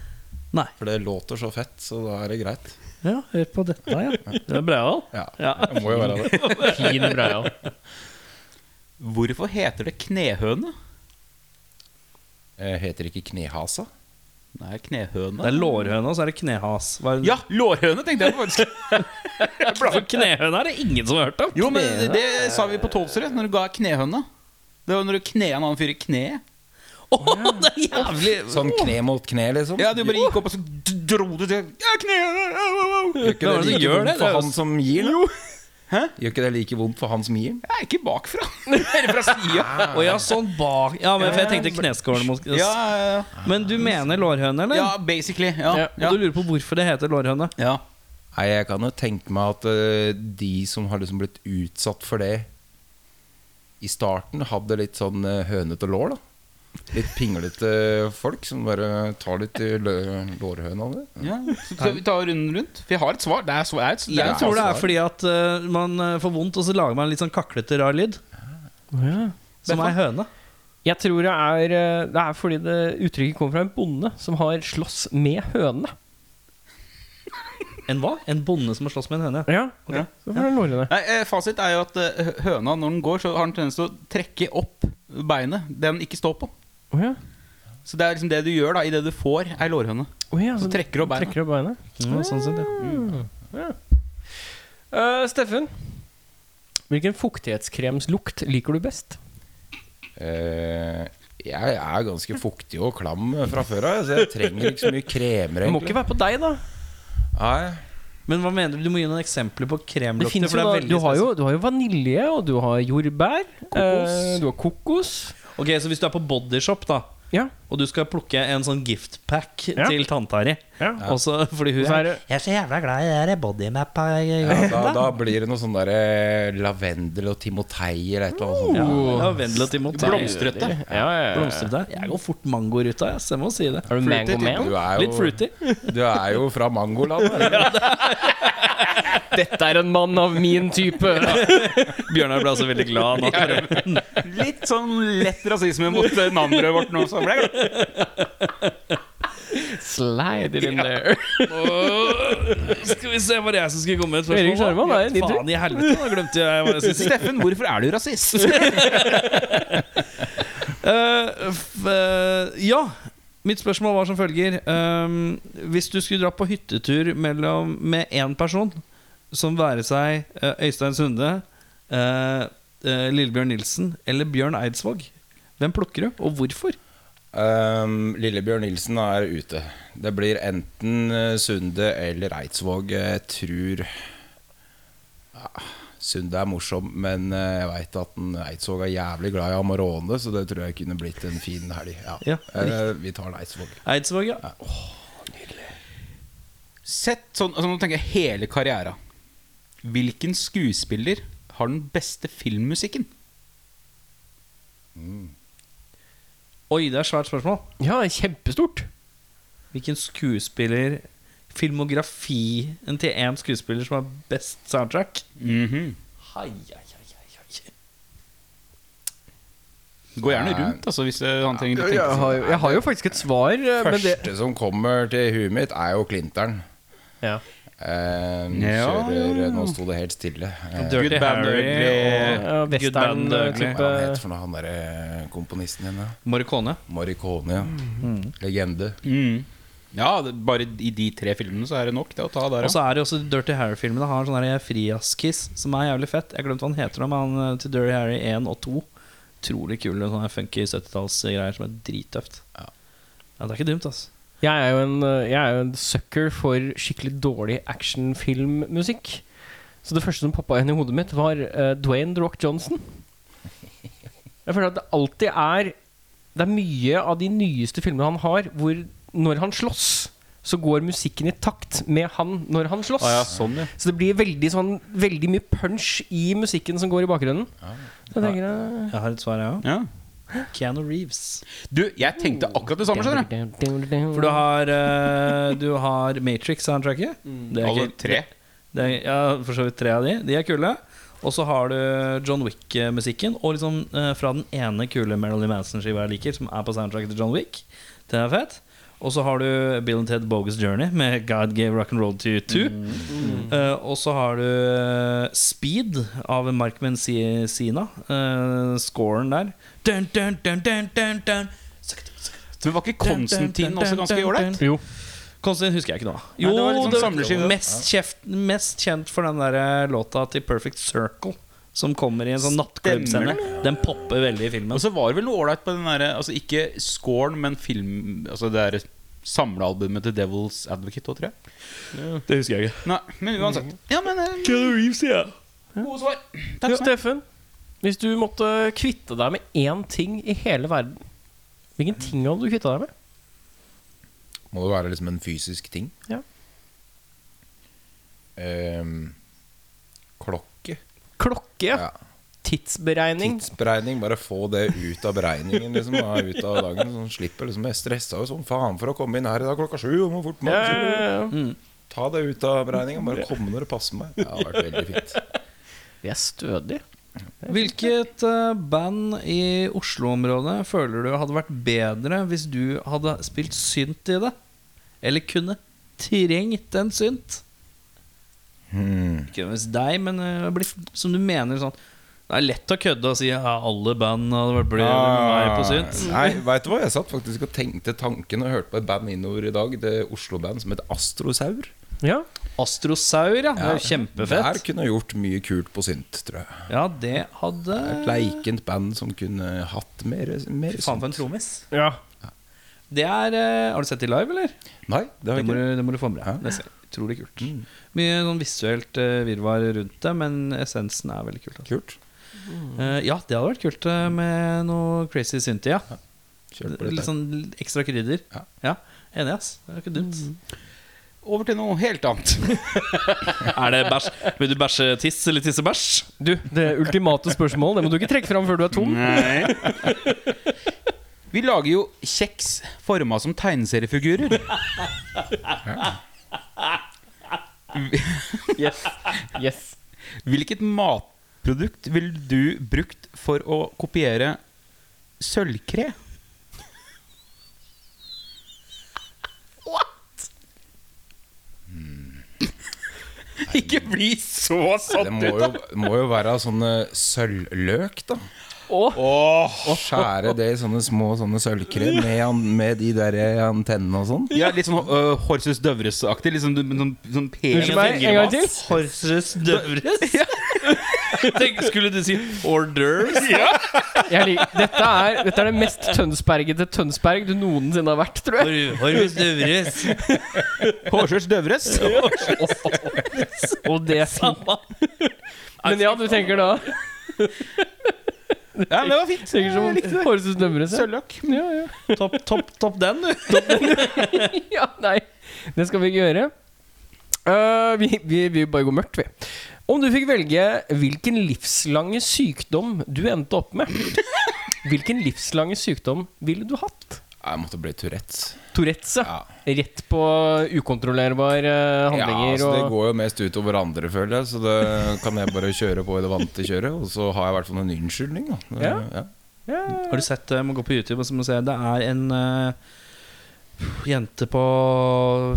B: Nei.
E: for det låter så fett, så da er det greit.
B: Ja, hør på dette, ja. Det er Breial.
E: Ja,
B: Ja.
E: det må jo være det.
A: Fin Breial.
C: Hvorfor heter det knehøne?
E: Eh, heter ikke Knehasa?
C: Nei,
B: Det
C: knehøne.
B: er lårhøna, og så er det knehas. Hva er det?
C: Ja, lårhøne tenkte jeg på faktisk.
B: for knehøna er det ingen som har hørt om!
C: Jo, men det sa vi på Tolvsrud, når du ga knehøne. Det var når du knea en annen fyr i kneet.
B: det er jævlig
E: Sånn kne mot kne, liksom?
C: Ja, du bare gikk opp og så d- dro du til Ja, knehøne!
E: Gjør ikke
B: Hva er det
E: det
B: som
E: like
B: gjør det? Det
E: vondt
B: er
E: for
B: jo
E: han som gir den?
C: Hæ?
E: Gjør ikke det like vondt for han som gir den?
C: Jeg er ikke bakfra. Eller fra sida.
B: Å ja, sånn bak Ja, men for jeg tenkte kneskålen mot
C: Ja, ja,
B: Men du mener lårhøne, eller?
C: ja, basically.
A: Ja,
C: Ja.
B: Og
C: ja.
B: du lurer på hvorfor det heter lårhøne?
C: ja.
E: Nei, jeg kan jo tenke meg at eh, de som har liksom blitt utsatt for det i starten, hadde litt sånn eh, hønete lår, da. Litt pinglete folk som bare tar litt i lø- lårhøna di.
C: ja. Så skal vi ta runden rundt? For jeg har et svar. Det er, svar. Det er, et, det er
B: Jeg
C: et
B: tror
C: svar.
B: det er fordi at eh, man eh, får vondt, og så lager man en litt sånn kaklete, rar lyd. Som ei høne.
A: Jeg tror det er, eh, det er fordi det uttrykket kommer fra en bonde som har slåss med høne.
B: En hva? En bonde som har slåss med en høne.
A: Ja,
C: Ja.
A: så får den lårene.
C: Nei, eh, Fasit er jo at eh, høna, når den går, så har den tendens til å trekke opp beinet. Det den ikke står på.
A: Å ja.
C: Så det er liksom det du gjør da idet du får ei lårhøne.
A: Å ja,
C: Så
A: så
C: trekker du opp beina.
A: Altså, trekker opp beina.
B: Ja, sånn sett, ja.
A: Eh, Steffen, hvilken fuktighetskremslukt liker du best?
E: Eh, jeg er ganske fuktig og klam fra før av, så jeg trenger ikke så mye kremer.
A: Det må
E: egentlig.
A: ikke være på deg, da.
E: Nei,
B: Men hva mener du? Du må gi noen eksempler på
A: Det
B: kremlukter.
A: finnes
B: for
A: jo, da,
B: det er
A: du,
B: veldig
A: har jo, du har jo vanilje, og du har jordbær. Eh, du har kokos.
B: spesielt. Ok, Så hvis du er på Bodyshop, da
A: Ja.
B: og du skal plukke en sånn giftpack
A: Ja.
B: til tanta di
A: Ja.
B: Og så fordi hun
A: Og så er
B: er,
A: det-
B: Jeg er så jævla glad i det der bodymappa.
E: Ja, da, da blir det noe sånn der eh, lavendel og timotei eller et eller annet sånt.
B: Ja, ja, Vendel og Timotei.
C: Blomstrete.
A: Ja, ja, ja.
B: Blomstrete. Eh, Jeg går fort mangoruta, ass. Jeg må si det.
A: Er du mango man?
E: Du er
B: Litt
E: jo,
B: fruity.
E: du er jo fra mangoland. eller?
A: Dette er en mann av min type!
B: Bjørnar ble altså veldig glad nå.
C: Litt sånn lett rasisme mot eh, navnet vårt nå. Så ble jeg glad.
A: Slide it in there.
B: Skal vi se, var det jeg som skulle komme med et
A: Erik Skjermann, er det din tur?
B: Faen i helvete, da glemte jeg hva jeg skulle si.
C: Steffen, hvorfor er du rasist?
B: Eh, f- eh, ja. Mitt spørsmål var som følger. Ehm, hvis du skulle dra på hyttetur mellom, med én person, som være seg eh, Øystein Sunde, eh, eh, Lillebjørn Nilsen eller Bjørn Eidsvåg, hvem plukker du, og hvorfor?
E: Um, Lillebjørn Nilsen er ute. Det blir enten eh, Sunde eller Eidsvåg. Jeg tror Ja, Sunde er morsom, men eh, jeg veit at den Eidsvåg er jævlig glad i Amarone, så det tror jeg kunne blitt en fin helg. Ja.
B: Ja,
E: Eh, vi tar en Eidsvåg.
B: Eidsvåg, ja.
C: Sett sånn, altså nå tenker jeg hele karriera. Hvilken skuespiller har den beste filmmusikken?
B: Oi, det er svært spørsmål.
A: Ja, kjempestort.
B: Hvilken skuespiller Filmografien til én skuespiller som har best soundtrack?
C: Mhm.
B: Hei, hei, hei, hei, hei.
C: Gå gjerne rundt, altså, hvis eh, han trenger å
A: Jeg
C: tenke
A: har, jo, jeg har jo faktisk et svar, eh, men det
E: Første som kommer til huet mitt, er jo Klinteren.
A: ja.
E: Eh,
C: Ja,
E: kjører Nå sto det helt stille. Eh,
B: Dirty
C: Good Bad
B: Harry
C: Ugly
A: Ja,
B: og Good Bad and Ugly.
E: hva het
A: western-type
E: for noe han derre komponisten din, da?
B: Morricone.
E: Maricone, ja. Legende.
C: Mm. Ja, det, bare i de tre filmene så er det nok det å ta der, ja.
B: Og så er det også Dirty Harry-filmene har en sånn her friaskiss som er jævlig fett. Jeg glemte hva han heter, nå, men han eh, til Dirty Harry 1 og 2. Utrolig kul sånn her funky 70-tallsgreier som er drittøft. Ja. det er ikke dumt, altså.
A: Jeg er jo en, eh, jeg er jo en sucker for skikkelig dårlig actionfilmmusikk. Så det første som poppa inn i hodet mitt, var eh, Dwayne The Rock Johnson. Jeg føler at det alltid er Det er mye av de nyeste filmene han har, hvor når han slåss, så går musikken i takt med han når han slåss.
C: sånn, ja.
A: Så det blir veldig, sånn, veldig mye punch i musikken som går i bakgrunnen. Så jeg tenker jeg
B: Jeg har et svar, jeg òg.
C: ja.
B: Keanu Reeves.
C: Du, jeg tenkte akkurat det samme, skjønner du.
B: For du har, eh, du har Matrix-soundtracket. Det er
C: Alle
B: ikke-
C: Altså, tre.
B: Det er, ja, for så vidt tre av de. De er kule. Og så har du John Wick-musikken. Og liksom eh, fra den ene kule Marilyn Manson-skiva jeg liker, som er på soundtracket til John Wick. Den er fett. Og så har du Bill and Ted Bogus Journey med God Gave Rock and Roll to You Too. Eh, og så har du eh, Speed av Mark Mencina. Uh, scoren der. Dun, dun, dun, dun, dun, dun.
C: Men var ikke Konstantin også ganske ålreit?
A: Jo.
B: Konstantin husker jeg ikke noe av.
C: Nei,
B: Jo,
C: det var litt sånn
B: det-
C: samleskive.
B: mest, kjeft, mest kjent for den der eh, låta til Perfect Circle. Som kommer i en sånn nattklubbscene. Den popper veldig i filmen.
C: Og så var det vel noe ålreit på den derre Altså ikke scoren, men film Altså det derre samlealbumet til Devil's Advocate òg, tror jeg.
B: Det husker jeg ikke.
C: Nei, men uansett. Ja, men eh,
B: Reeves, ja.
C: Gode svar.
A: Ja,
C: Takk skal du ha.
A: Steffen, hvis du måtte kvitte deg med én ting i hele verden, hvilken ting hadde du kvitta deg med?
E: Må det være liksom en fysisk ting?
A: Ja.
E: Ehm, klokke.
A: Klokke.
E: Ja.
A: Tidsberegning.
E: Tidsberegning. Bare få det ut av beregningen. Liksom, da, ut av dagen Sånn slipper liksom Jeg stressa jo som faen for å komme inn her i dag klokka sju. og må fort
A: Ja,
E: mat.
A: ja, ja.
B: Mm.
E: Ta det ut av beregningen. Bare komme når det passer meg. Det har vært veldig fint.
A: Vi er stødige.
B: Hvilket eh, band i Oslo-området føler du hadde vært bedre hvis du hadde spilt synt i det? Eller kunne trengt en synt?
E: Hmm.
B: Ikke nødvendigvis deg, men eh, blitt, som du mener sånn Det er lett å kødde og si ja, alle band hadde vært bedre enn meg på synt.
E: Nei, vet du hva? Jeg satt faktisk og tenkte tanken og hørte på et band innover i dag. Det Oslo-band som heter Astrosaur.
A: Ja.
B: Astrosaur, ja. Det er jo
E: Der
B: kjempefett.
E: kunne jeg gjort mye kult på synt, tror jeg.
B: Ja, det hadde
E: Et leikent band som kunne hatt mer, mer sånn.
B: Fy Faen for en
E: synt.
B: trommis.
A: ja.
B: Det er eh, Har du sett de live, eller?
E: Nei, det
B: Det
E: har jeg
B: må
E: ikke.
B: du, det må du få med
E: Ja.
B: deg. neste gang. Utrolig kult. Mye sånn visuelt eh, virvar rundt det, men essensen er veldig kult. Altså.
E: Kult.
B: Eh, ja, det hadde vært kult eh, med noe crazy synthi, ja.
E: Kjør på
B: Litt
E: dette.
B: sånn ekstra krydder.
E: Ja.
B: Enig, ass. Det er ikke dumt.
C: Over til noe helt annet.
B: Er det bæsj? Vil du bæsje tiss eller tissebæsj?
A: Du, det ultimate spørsmålet, det må du ikke trekke fram før du er
C: Mm.
A: tom.
C: Nei. Vi lager jo kjeks forma som tegneseriefigurer.
A: Yes. yes
C: Hvilket matprodukt ville du brukt for å kopiere sølvkre? Hmm. What? Ikke bli så sånn. satt ut,
E: Det må jo,
C: da!
E: må jo være sånne sølvløk, da.
C: Åh.
E: Skjære det i sånne små sånne sølvkre med, an- med de der antennene og sånn.
C: Ja, litt sånn uh, Horsus Døvres-aktig. Litt sånn, sånn, sånn pen
A: Unnskyld meg, en gang til.
B: Horses døvres? Tenk, skulle du si hors d'oeuvres?
A: Jeg liker. Dette, er, dette er det mest tønsbergete Tønsberg du noensinne har vært, tror jeg.
B: Horses døvres.
C: Horsus Døvres.
A: Og det er fint. Men ja, du tenker da
C: Ja, men det var fint.
A: Tenker som
C: Jeg likte det.
A: Hårsus Dømres. Ja.
C: Sølvløk.
A: Ja, ja.
B: Topp topp, topp den, du.
A: ja, nei. Det skal vi ikke gjøre. Eh, vi, vi, vi bare går mørkt, vi. Om du fikk velge hvilken livslange sykdom du endte opp med, hvilken livslange sykdom ville du hatt?
E: Jeg måtte bli Tourettes.
A: Tourettes, ja.
E: Ja.
A: Rett på ukontrollerbare handlinger
E: ja, altså, Det
A: og
E: går jo mest utover andre, føler jeg. Så det kan jeg bare kjøre på i det vante kjøret. Og så har jeg i hvert fall en unnskyldning. Da. Det-
A: Ja.
B: Har du sett det? Må gå på YouTube og så må du se. Det er en eh, jente på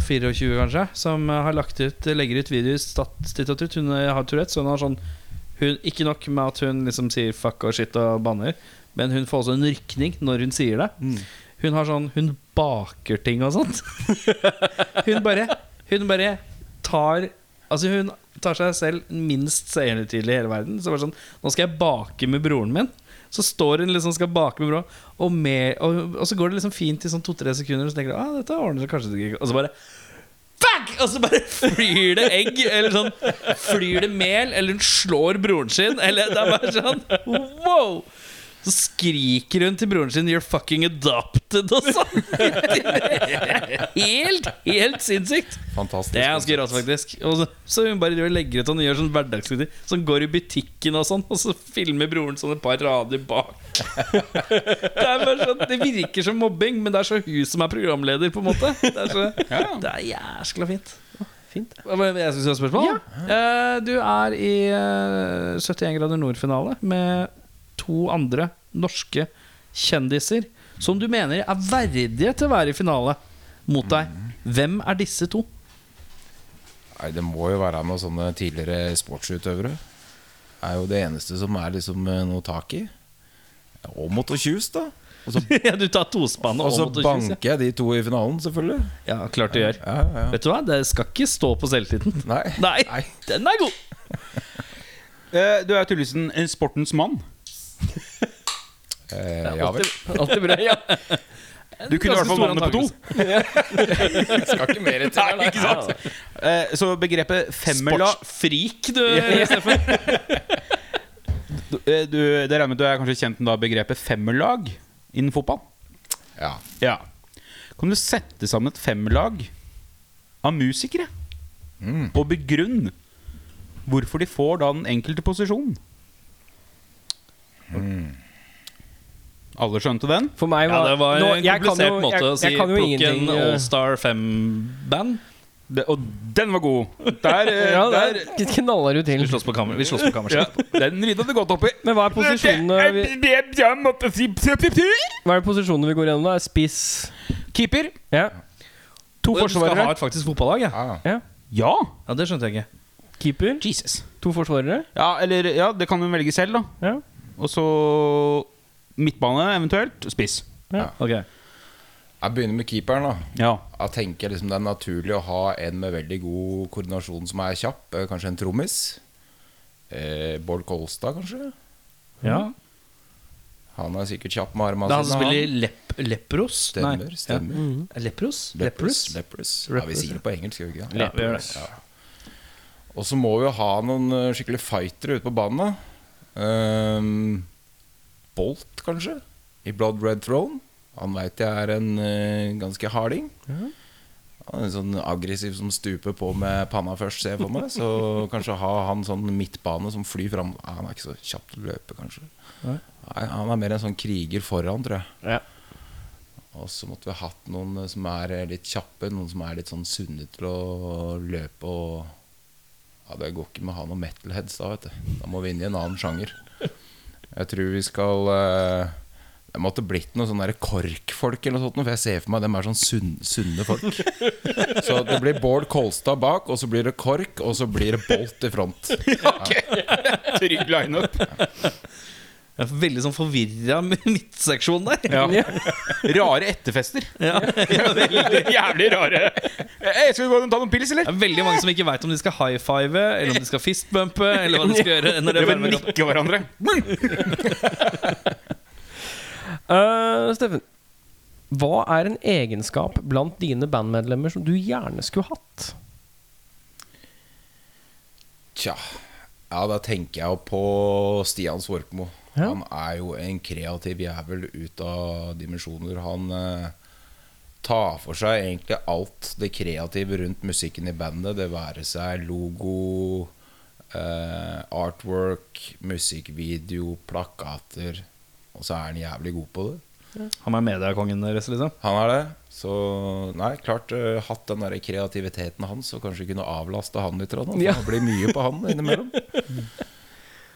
B: 24, kanskje, som eh, har lagt ut legger ut videoer statistisk ut. Hun eh, har Tourettes. så Hun har sånn hun, Ikke nok med at hun liksom sier fuck og shit og banner, men hun får også en rykning når hun sier det. Hun har sånn Hun baker ting og sånt. hun bare Hun bare tar Altså, hun tar seg selv minst seerhøytidelig i hele verden. Så bare sånn Nå skal jeg bake med broren min. Så står hun liksom skal bake med broren, og, med, og, og så går det liksom fint i sånn to-tre sekunder, og så tenker du ah, dette ordner seg kanskje ikke. Og så bare Bang! Og så bare flyr det egg, eller sånn Flyr det mel, eller hun slår broren sin, eller Det er bare sånn wow! Så skriker hun til broren sin 'You're fucking adopted' og sånn. Helt, helt sinnssykt.
E: Fantastisk.
B: Det er ganske rått, faktisk. Og så, så hun bare driver og legger ut og gjør sånn hverdagsaktig. Sånn går i butikken og sånn, og så filmer broren sånn et par rader bak. det, er bare sånn, det virker som mobbing, men det er så hun som er programleder, på en måte. Det er, så,
C: Ja.
B: det er jæskla fint. Fint Jeg skal si et spørsmål. Eh, Du er i eh, 71 grader nord-finale med to andre norske kjendiser som du mener er verdige til å være i finale mot deg. Hvem er disse to?
E: Nei, det må jo være noen sånne tidligere sportsutøvere. Er jo det eneste som er liksom eh, noe tak i. Og Motto Kjus, da. Og så,
B: ja, du tar tospann
E: og
B: og
E: så
B: mot kyss,
E: banker jeg de to i finalen, selvfølgelig.
B: Ja. ja, klart du gjør.
E: Ja, ja.
B: Vet du hva, det skal ikke stå på selvtilliten.
E: Nei.
B: Nei,
E: Nei.
B: den er god!
C: Eh, Du er jo tydeligvis en- en sportens mann.
E: Eh, ja vel.
A: Alltid bra. Ja.
C: Du kunne i hvert
B: Ganske
C: fall
B: stor
C: navnet på to.
E: Skal ikke mer til.
A: Nei, ikke sant?
C: Eh, Så begrepet femmela
B: Sportsfrik, du,
A: Ja.
B: Steffen.
C: du, eh, du, det regner jeg med at du er kanskje kjent med da begrepet femmerlag innen fotball?
E: Ja.
C: Ja. Kan du sette sammen et femmerlag av musikere? Og begrunne hvorfor de får da den enkelte posisjonen? Alle skjønte den?
A: For meg
B: Ja,
A: var,
B: det var
A: Nå,
B: en
A: jeg kan
B: komplisert
A: jo-
B: måte å
A: jeg-
B: si
A: jeg kan jo
B: plukke en
A: ingenting, eh,
B: Allstar 5-band.
C: Det- og den var god! Der, eh,
A: Ja,
C: der,
A: der knaller du
B: Vi
A: til.
B: slåss på kammer. Vi slåss på
C: ja,
B: kammerset.
C: Den ridda du godt opp i.
A: Men hva er posisjonene vi, hva er det posisjonene vi går gjennom, da? Spiss
C: Keeper.
A: Ja. To
B: Du skal ha
A: forsvarere.
B: et faktisk fotballag, ja.
E: ja.
A: Ja.
C: Ja.
B: ja det skjønte jeg ikke.
A: Keeper.
C: Jesus.
A: To forsvarere.
C: Ja, eller Ja, det kan hun velge selv, da.
A: Ja.
C: Og så midtbane, eventuelt. Spiss.
B: Ok
E: Jeg begynner med keeperen, da.
C: Ja.
E: Da tenker jeg liksom Det er naturlig å ha en med veldig god koordinasjon som er kjapp. eh, Kanskje en trommis. Eh, Bård Kolstad, kanskje.
B: Ja.
E: Han er sikkert kjapp med armene
B: Det er han som spiller lep Lepros?
E: Stemmer,
B: Nei.
E: stemmer.
B: Ja. Lepros? Lepros?
E: Lepros. Lepros. Ja, vi sier det på engelsk, gjør vi ikke det?
B: Ja, vi gjør det.
E: Og så må vi jo ha noen eh, skikkelige fightere ute på banen. da. Ehm, Bolt, kanskje? I Blood Red Throne. Han veit jeg er en eh, ganske harding. Han er en sånn aggressiv som stuper på med panna først, ser jeg for meg. Så kanskje ha han sånn midtbane som flyr fram ah, Han er ikke så kjapp til å løpe, kanskje.
B: Nei.
E: Nei, han er mer en sånn kriger foran, tror jeg.
A: Ja.
E: Og så måtte vi ha hatt noen eh, som er eh, litt kjappe, noen som er litt sånn sunne til å løpe og Ja, det går ikke med å ha noen metalheads da, vet du. Da må vi inn i en annen sjanger. Jeg tror vi skal eh, Det måtte blitt noen sånne der KORK-folk eller noe sånt, for jeg ser for meg dem er sånn sunn, sunne folk. Så det blir Bård Kolstad bak, og så blir det KORK, og så blir det Bolt i front.
C: Trygg lineup.
B: Det er veldig sånn forvirra midtseksjon der.
C: Ja. Rare etterfester.
B: Ja.
C: Jævlig rare. Hey, skal vi gå og ta noen pils, eller?
B: Det er veldig mange som ikke veit om de skal high five, eller om de skal fistbumpe, eller hva de skal gjøre. Når
C: Dere
B: det er
C: vil
B: varme kamp.
C: nikke hverandre.
A: Eh, Steffen, hva er en egenskap blant dine bandmedlemmer som du gjerne skulle hatt?
E: Tja Ja, da tenker jeg jo på Stian Svorkmo. Han er jo en kreativ jævel ut av dimensjoner. Han eh, tar for seg egentlig alt det kreative rundt musikken i bandet. Det være seg logo, eh, artwork, musikkvideo, plakater. Og så er han jævlig god på det.
B: Han er mediekongen deres, liksom.
E: Han er det. Så nei, klart eh, hatt den der kreativiteten hans og kanskje kunne avlaste han litt. grann, For
A: Ja.
E: Det blir mye på han innimellom.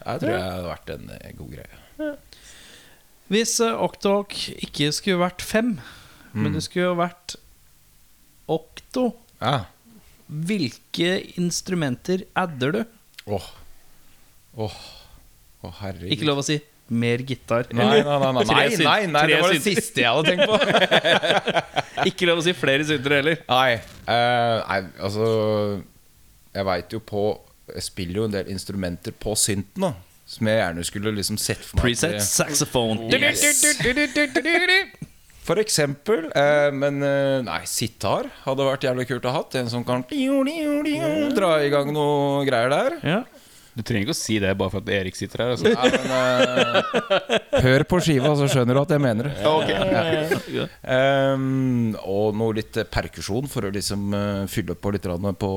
E: Jeg tror jeg hadde vært en eh, god greie.
B: Hvis eh, Octohawk ikke skulle vært fem, men det skulle jo vært Octo,
E: Ja.
B: hvilke instrumenter adder du?
E: Åh. Åh. Å, herregud.
B: Ikke lov å si mer gitar.
E: Nei, nei, nei, nei, nei,
B: Tre syn-
E: nei, nei
B: tre
E: det var det
B: syn-
E: siste jeg hadde tenkt på.
B: Ikke lov å si flere syntere heller.
E: Nei, eh, nei altså Jeg veit jo på Jeg spiller jo en del instrumenter på synten, da. Som jeg gjerne skulle liksom sett for meg. at
B: Preset
E: jeg-
B: saxophone.
E: For eksempel. Eh, men eh, nei, sitar hadde vært jævlig kult å ha hatt. En som kan dra i gang noe greier der.
B: Ja.
C: Du trenger ikke å si det bare for at Erik sitter her. Altså.
E: Nei, men, eh, hør på skiva, så skjønner du at jeg mener det. Ja. Ehm, og noe litt eh, perkusjon for å liksom eh, fylle på litt grann på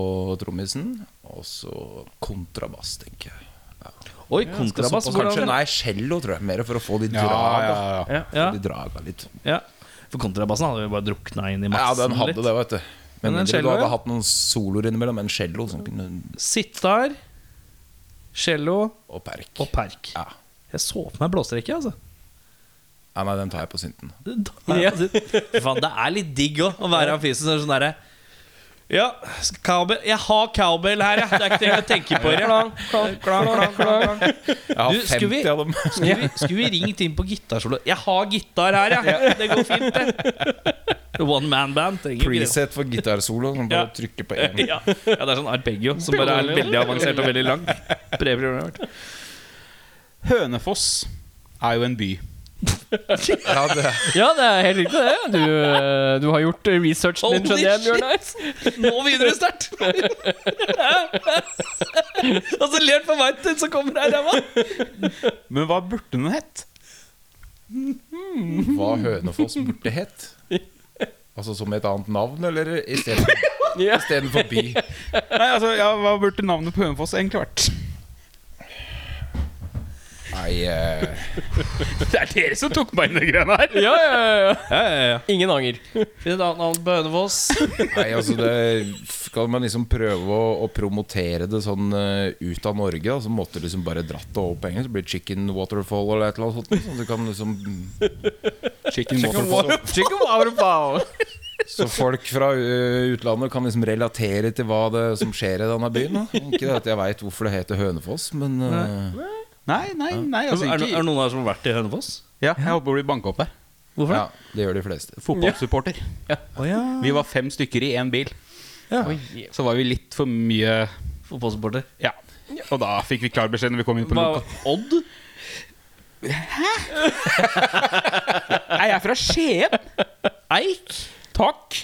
E: trommisen. Og så kontrabass, tenker jeg.
B: Oi, kontrabass.
E: Kanskje
B: Hvordan?
E: nei, cello, tror jeg. Mer for å få de
C: Ja, ja,
E: draga.
C: ja.
B: Ja,
E: Ja,
B: ja.
E: De draga litt.
B: Ja. For kontrabassen hadde vi bare drukna inn i
E: Ja,
B: massen
E: den hadde
B: litt.
E: det, vet du. Men,
B: Men en
E: mindre
B: cello,
E: du
B: ja.
E: hadde hatt noen soloer innimellom. En cello som kunne
B: Sitar, cello
E: Og perk.
B: og perk.
E: Ja.
B: Jeg så på meg blåstrekke, altså.
E: Ja, nei, den tar jeg på synten.
B: Ja. Faen, det er litt digg òg, å være han fysen som er sånn derre ja, cowbell. Jeg har cowbell her, jeg. Det er ikke det jeg tenker på. Klang, klang, klang, klang, klang.
E: Jeg har
B: Du, skulle
E: 50
B: vi-
E: av dem.
B: Skulle vi, skulle vi ringt inn på gitarsolo? Jeg har gitar her, jeg. Det går fint, det. One man band trenger ikke det.
E: Preset for gitarsolo. Sånn
B: Ja.
E: bare trykke på én.
B: Ja. ja, det er sånn arpeggio som bare er veldig avansert og veldig lang. Prøver,
C: Hønefoss er jo en by.
E: Ja, det,
A: Ja, det er helt riktig, det. Du, eh, du har gjort researchen din, skjønner jeg, Bjørnar.
B: Nå videre sterkt! Og så ler han på vei til, så kommer det her ræva.
C: Men hva burde den hett?
E: hva Hønefoss burde hett? Altså som et annet navn, eller istedenfor
A: Ja.
E: istedenfor by?
C: Nei, altså, ja, Hva burde navnet på Hønefoss egentlig vært?
E: Nei, eh,
C: Det er dere som tok meg inn i greiene her.
A: Ja, ja, ja, ja. Ingen anger.
B: Finn et annet navn på Hønefoss.
E: nei altså det Skal man liksom prøve å, å promotere det sånn eh, ut av Norge, da, så måtte du liksom bare dratt det over på engelsk. så blir det Chicken Waterfall eller et eller annet sånt. Så, du kan liksom,
C: Chicken waterfall.
A: Chicken waterfowl.
E: så folk fra eh, utlandet kan liksom relatere til hva det som skjer i denne byen. Da. Ikke at jeg veit hvorfor det heter Hønefoss, men eh,
C: Nei, nei, nei.
B: Er
C: Altså,
B: det er det
C: ikke.
B: noen her som har vært i Hønefoss?
C: Ja, jeg håper å bli banka opp der.
B: Hvorfor det?
E: Ja, det gjør de fleste.
C: Fotballsupporter.
B: Å ja.
C: Vi var fem stykker i én bil. Så var vi litt for mye
B: Fotballsupporter.
C: Ja. Og da fikk vi klar beskjed når vi kom inn på
B: Hva-
C: loka.
B: Odd?
C: Er jeg fra Skien? Eik? Takk.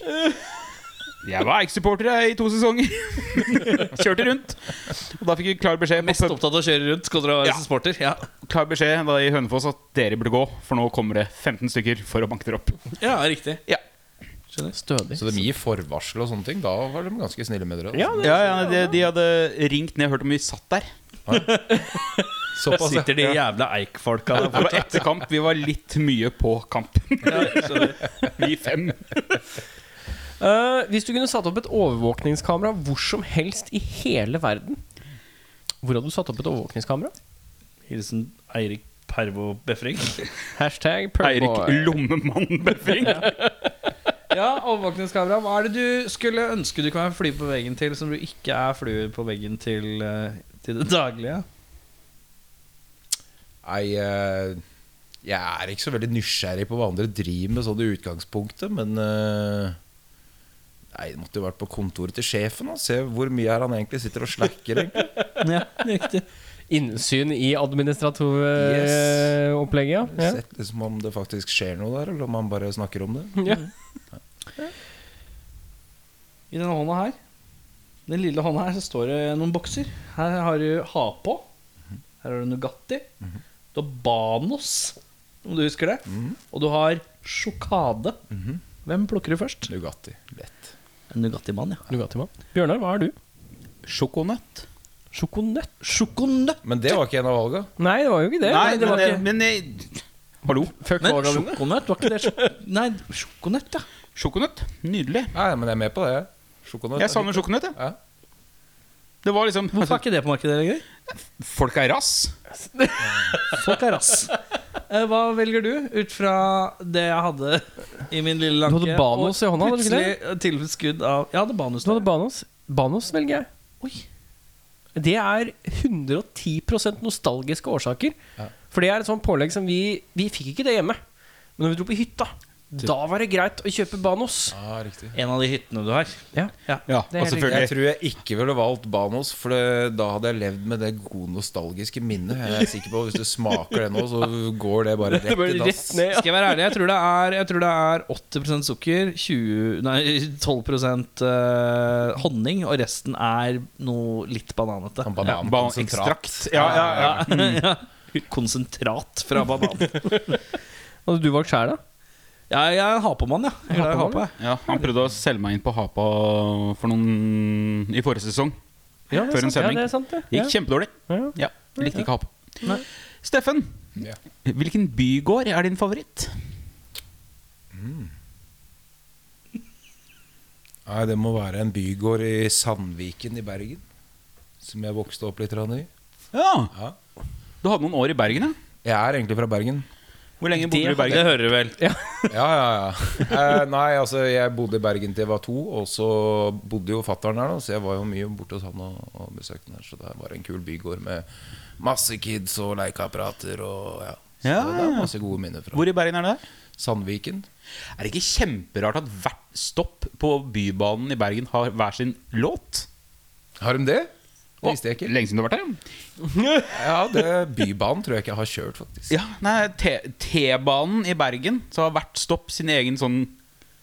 C: Jeg var Eik-supporter jeg, i to sesonger. Kjørte rundt. Og da fikk vi klar beskjed, på
B: Mest
C: pub,
B: opptatt av å kjøre rundt. Skal dere være
C: Ja.
B: supporter? Ja.
C: klar beskjed da i Hønefoss at dere burde gå, for nå kommer det 15 stykker for å banke dere opp.
B: ja, riktig.
C: Ja,
A: Stødig.
E: Så de gir forvarsel og sånne ting. Da var de ganske snille med dere. altså.
A: Ja, det,
C: ja, ja de, de hadde ringt ned og hørt om vi satt der.
E: Såpass, ja.
B: Sitter de jævla eikfolka
C: Det
B: der
C: var etter kamp. Vi var litt mye på kamp. Vi fem.
A: Eh, hvis du kunne satt opp et overvåkningskamera hvor som helst i hele verden, hvor hadde du satt opp et overvåkningskamera?
B: Hilsen Eirik Pervo Befring.
A: Hashtag
C: Eirik
A: Purboy.
C: Lommemann Befring.
B: Ja, overvåkningskamera. Hva er det du skulle ønske du kan være flue på veggen til, som du ikke er flue på veggen til, eh, til det daglige?
E: Nei, eh, jeg er ikke så veldig nysgjerrig på hva andre driver med sånn i utgangspunktet, men eh, Nei, det måtte jo vært på kontoret til sjefen og se hvor mye er han egentlig sitter og slacker. egentlig.
B: Ja, riktig.
A: Innsyn i
E: Yes.
A: administratoreopplegget, ja.
E: Sett liksom om det faktisk skjer noe der, eller om han bare snakker om det.
A: ja.
B: I denne hånda her, den lille hånda her, så står det noen bokser. Her har du ha på. Her har du Nugatti. Du har Banos, om du husker det. Og du har sjokade. Hvem plukker du først?
E: Nugatti. Lett.
B: Nugatti-mann, ja.
A: Nugatimann. Bjørnar, hva er du?
C: Sjokonøtt.
A: Sjokonøtt?
B: Sjokonøtt!
E: Men det var ikke en av valga.
A: Nei, det var jo ikke det.
C: Nei,
A: det var
C: men, eh, men jeg- Hallo.
A: Fuck
B: Men
A: valga mine.
B: sjokonøtt, var ikke det sjok- Nei, sjokonøtt, ja.
C: Sjokonøtt. Nydelig.
E: Nei, men jeg er med på det. jeg. Sjokonøtt.
C: Jeg savner sjokonøtt. jeg.
E: Ja.
C: Det var liksom Altså,
B: Hvorfor
A: Altså-
B: er ikke det på markedet lenger?
C: Folk er rass.
B: Folk er rass. Eh, Hva velger du ut fra det jeg hadde i min lille
A: Du
B: lanke?
A: hadde Banos i hånda,
B: og
A: hadde du ikke det?
B: Plutselig tilskudd av Jeg hadde Banos.
A: Du hadde Banos. Banos velger jeg.
B: Oi.
A: Det er 110 nostalgiske årsaker.
E: Ja.
A: For det er et sånt pålegg som vi Vi fikk ikke det hjemme. Men når vi dro på hytta, da var det greit å kjøpe Banos.
E: Ja, riktig.
B: En av de hyttene du har.
A: Ja.
C: Ja,
A: Det er
C: og
A: helt
E: Jeg
C: selvfølgelig.
E: tror jeg ikke ville valgt Banos, for det, da hadde jeg levd med det gode nostalgiske minnet. Jeg er sikker på at Hvis du smaker det nå, så går det bare rett i dass.
B: Skal jeg være ærlig, jeg tror det er, jeg tror det er 80 sukker, 20, nei, 12 eh, honning, og resten er noe litt bananete.
E: Sånn
C: Ja,
E: bananekstrak.
C: Bananekstrakt. Ja, ja, ja.
B: Konsentrat fra banan.
A: Hadde du valgt sjæl, da?
B: Ja, jeg er en hapemann, ja. Jeg er glad i
A: Hapemann,
B: hape.
C: Ja, han prøvde å selge meg inn på Hapa for noen i forrige sesong.
A: det er
C: Før en
A: sant, ja,
C: sending.
A: det er sant, det.
C: Gikk
A: Ja.
C: kjempedårlig.
A: Ja.
C: Ja, Likte ikke Hapa.
B: Nei.
C: Steffen,
E: Ja.
C: hvilken bygård er din favoritt?
E: Nei, det må være en bygård i Sandviken i Bergen. Som jeg vokste opp litt grann i.
C: Ja,
E: Ja.
C: Du hadde noen år i Bergen, ja?
E: Jeg er egentlig fra Bergen.
C: Hvor lenge bodde du i
B: Det
C: Bergen?
B: hører du vel.
E: Ja, ja, ja. Eh, nei, altså, jeg bodde i Bergen til jeg var to, og så bodde jo fatter'n der, da, så jeg var jo mye borte hos han og, og besøkte han der. Så det var en kul bygård med masse kids og lekeapparater og ja. Så
C: Ja,
E: det er
C: ja.
E: masse gode minner fra
C: Hvor i Bergen er det der?
E: Sandviken.
C: Er det ikke kjemperart at hvert stopp på Bybanen i Bergen har hver sin låt?
E: Har de det? Det visste jeg ikke.
C: Lenge siden du har vært der?
E: Ja, det, Bybanen tror jeg ikke jeg har kjørt, faktisk.
C: Ja, nei, T- T-banen i Bergen Så har hvert stopp sin egen sånn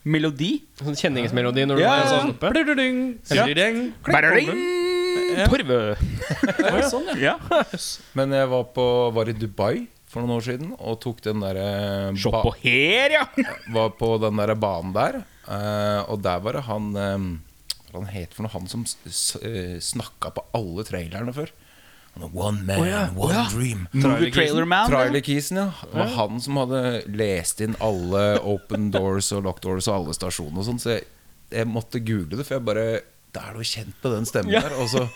C: melodi.
A: Sånn kjenningsmelodi når du
C: Ja,
A: er
C: ja, ja.
A: sånn oppe?
B: Blurdudung,
C: Ja.
B: blurdudung.
C: Berling Torve. Ja.
E: Men jeg var, på, var i Dubai for noen år siden og tok den eh, derre
C: Se på her, ja!
E: var på den der banen der, eh, og der var det han eh, Hva han het for noe? Han som s- s- eh, snakka på alle trailerne før. Han var One man, one dream.
C: Movie Trailer Man.
E: Trailer Keesen, ja. Det var han som hadde lest inn alle open doors og lock doors og alle stasjoner og sånn, så jeg, jeg måtte google det, for jeg bare Da er du kjent med den stemmen der. Og så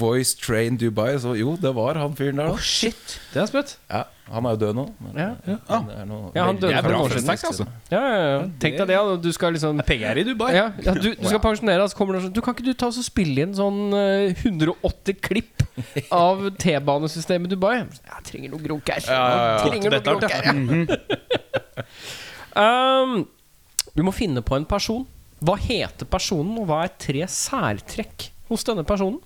E: Voice Train Dubai. Så jo, det var han fyren der, da.
C: Shit.
B: Det er sprøtt.
E: Ja, han er jo død nå. Men,
A: Ja.
E: men det er noe
A: Ja, han
E: veldig-
A: døde
C: Det er
A: for
C: bra
A: noen år
C: for en
A: siden.
C: snacks, altså.
A: Ja, ja, ja. Tenk deg det, da. Du skal liksom
B: Penger i Dubai.
A: ja, ja, du, du skal pensjonere deg, så kommer det sånn Du kan ikke du ta oss og spille inn sånn eh, 180 klipp av T-banesystemet i Dubai? Jeg trenger noe grunk her. Jeg trenger noe grunk her. Um, du må finne på en person. Hva heter personen, og hva er tre særtrekk hos denne personen?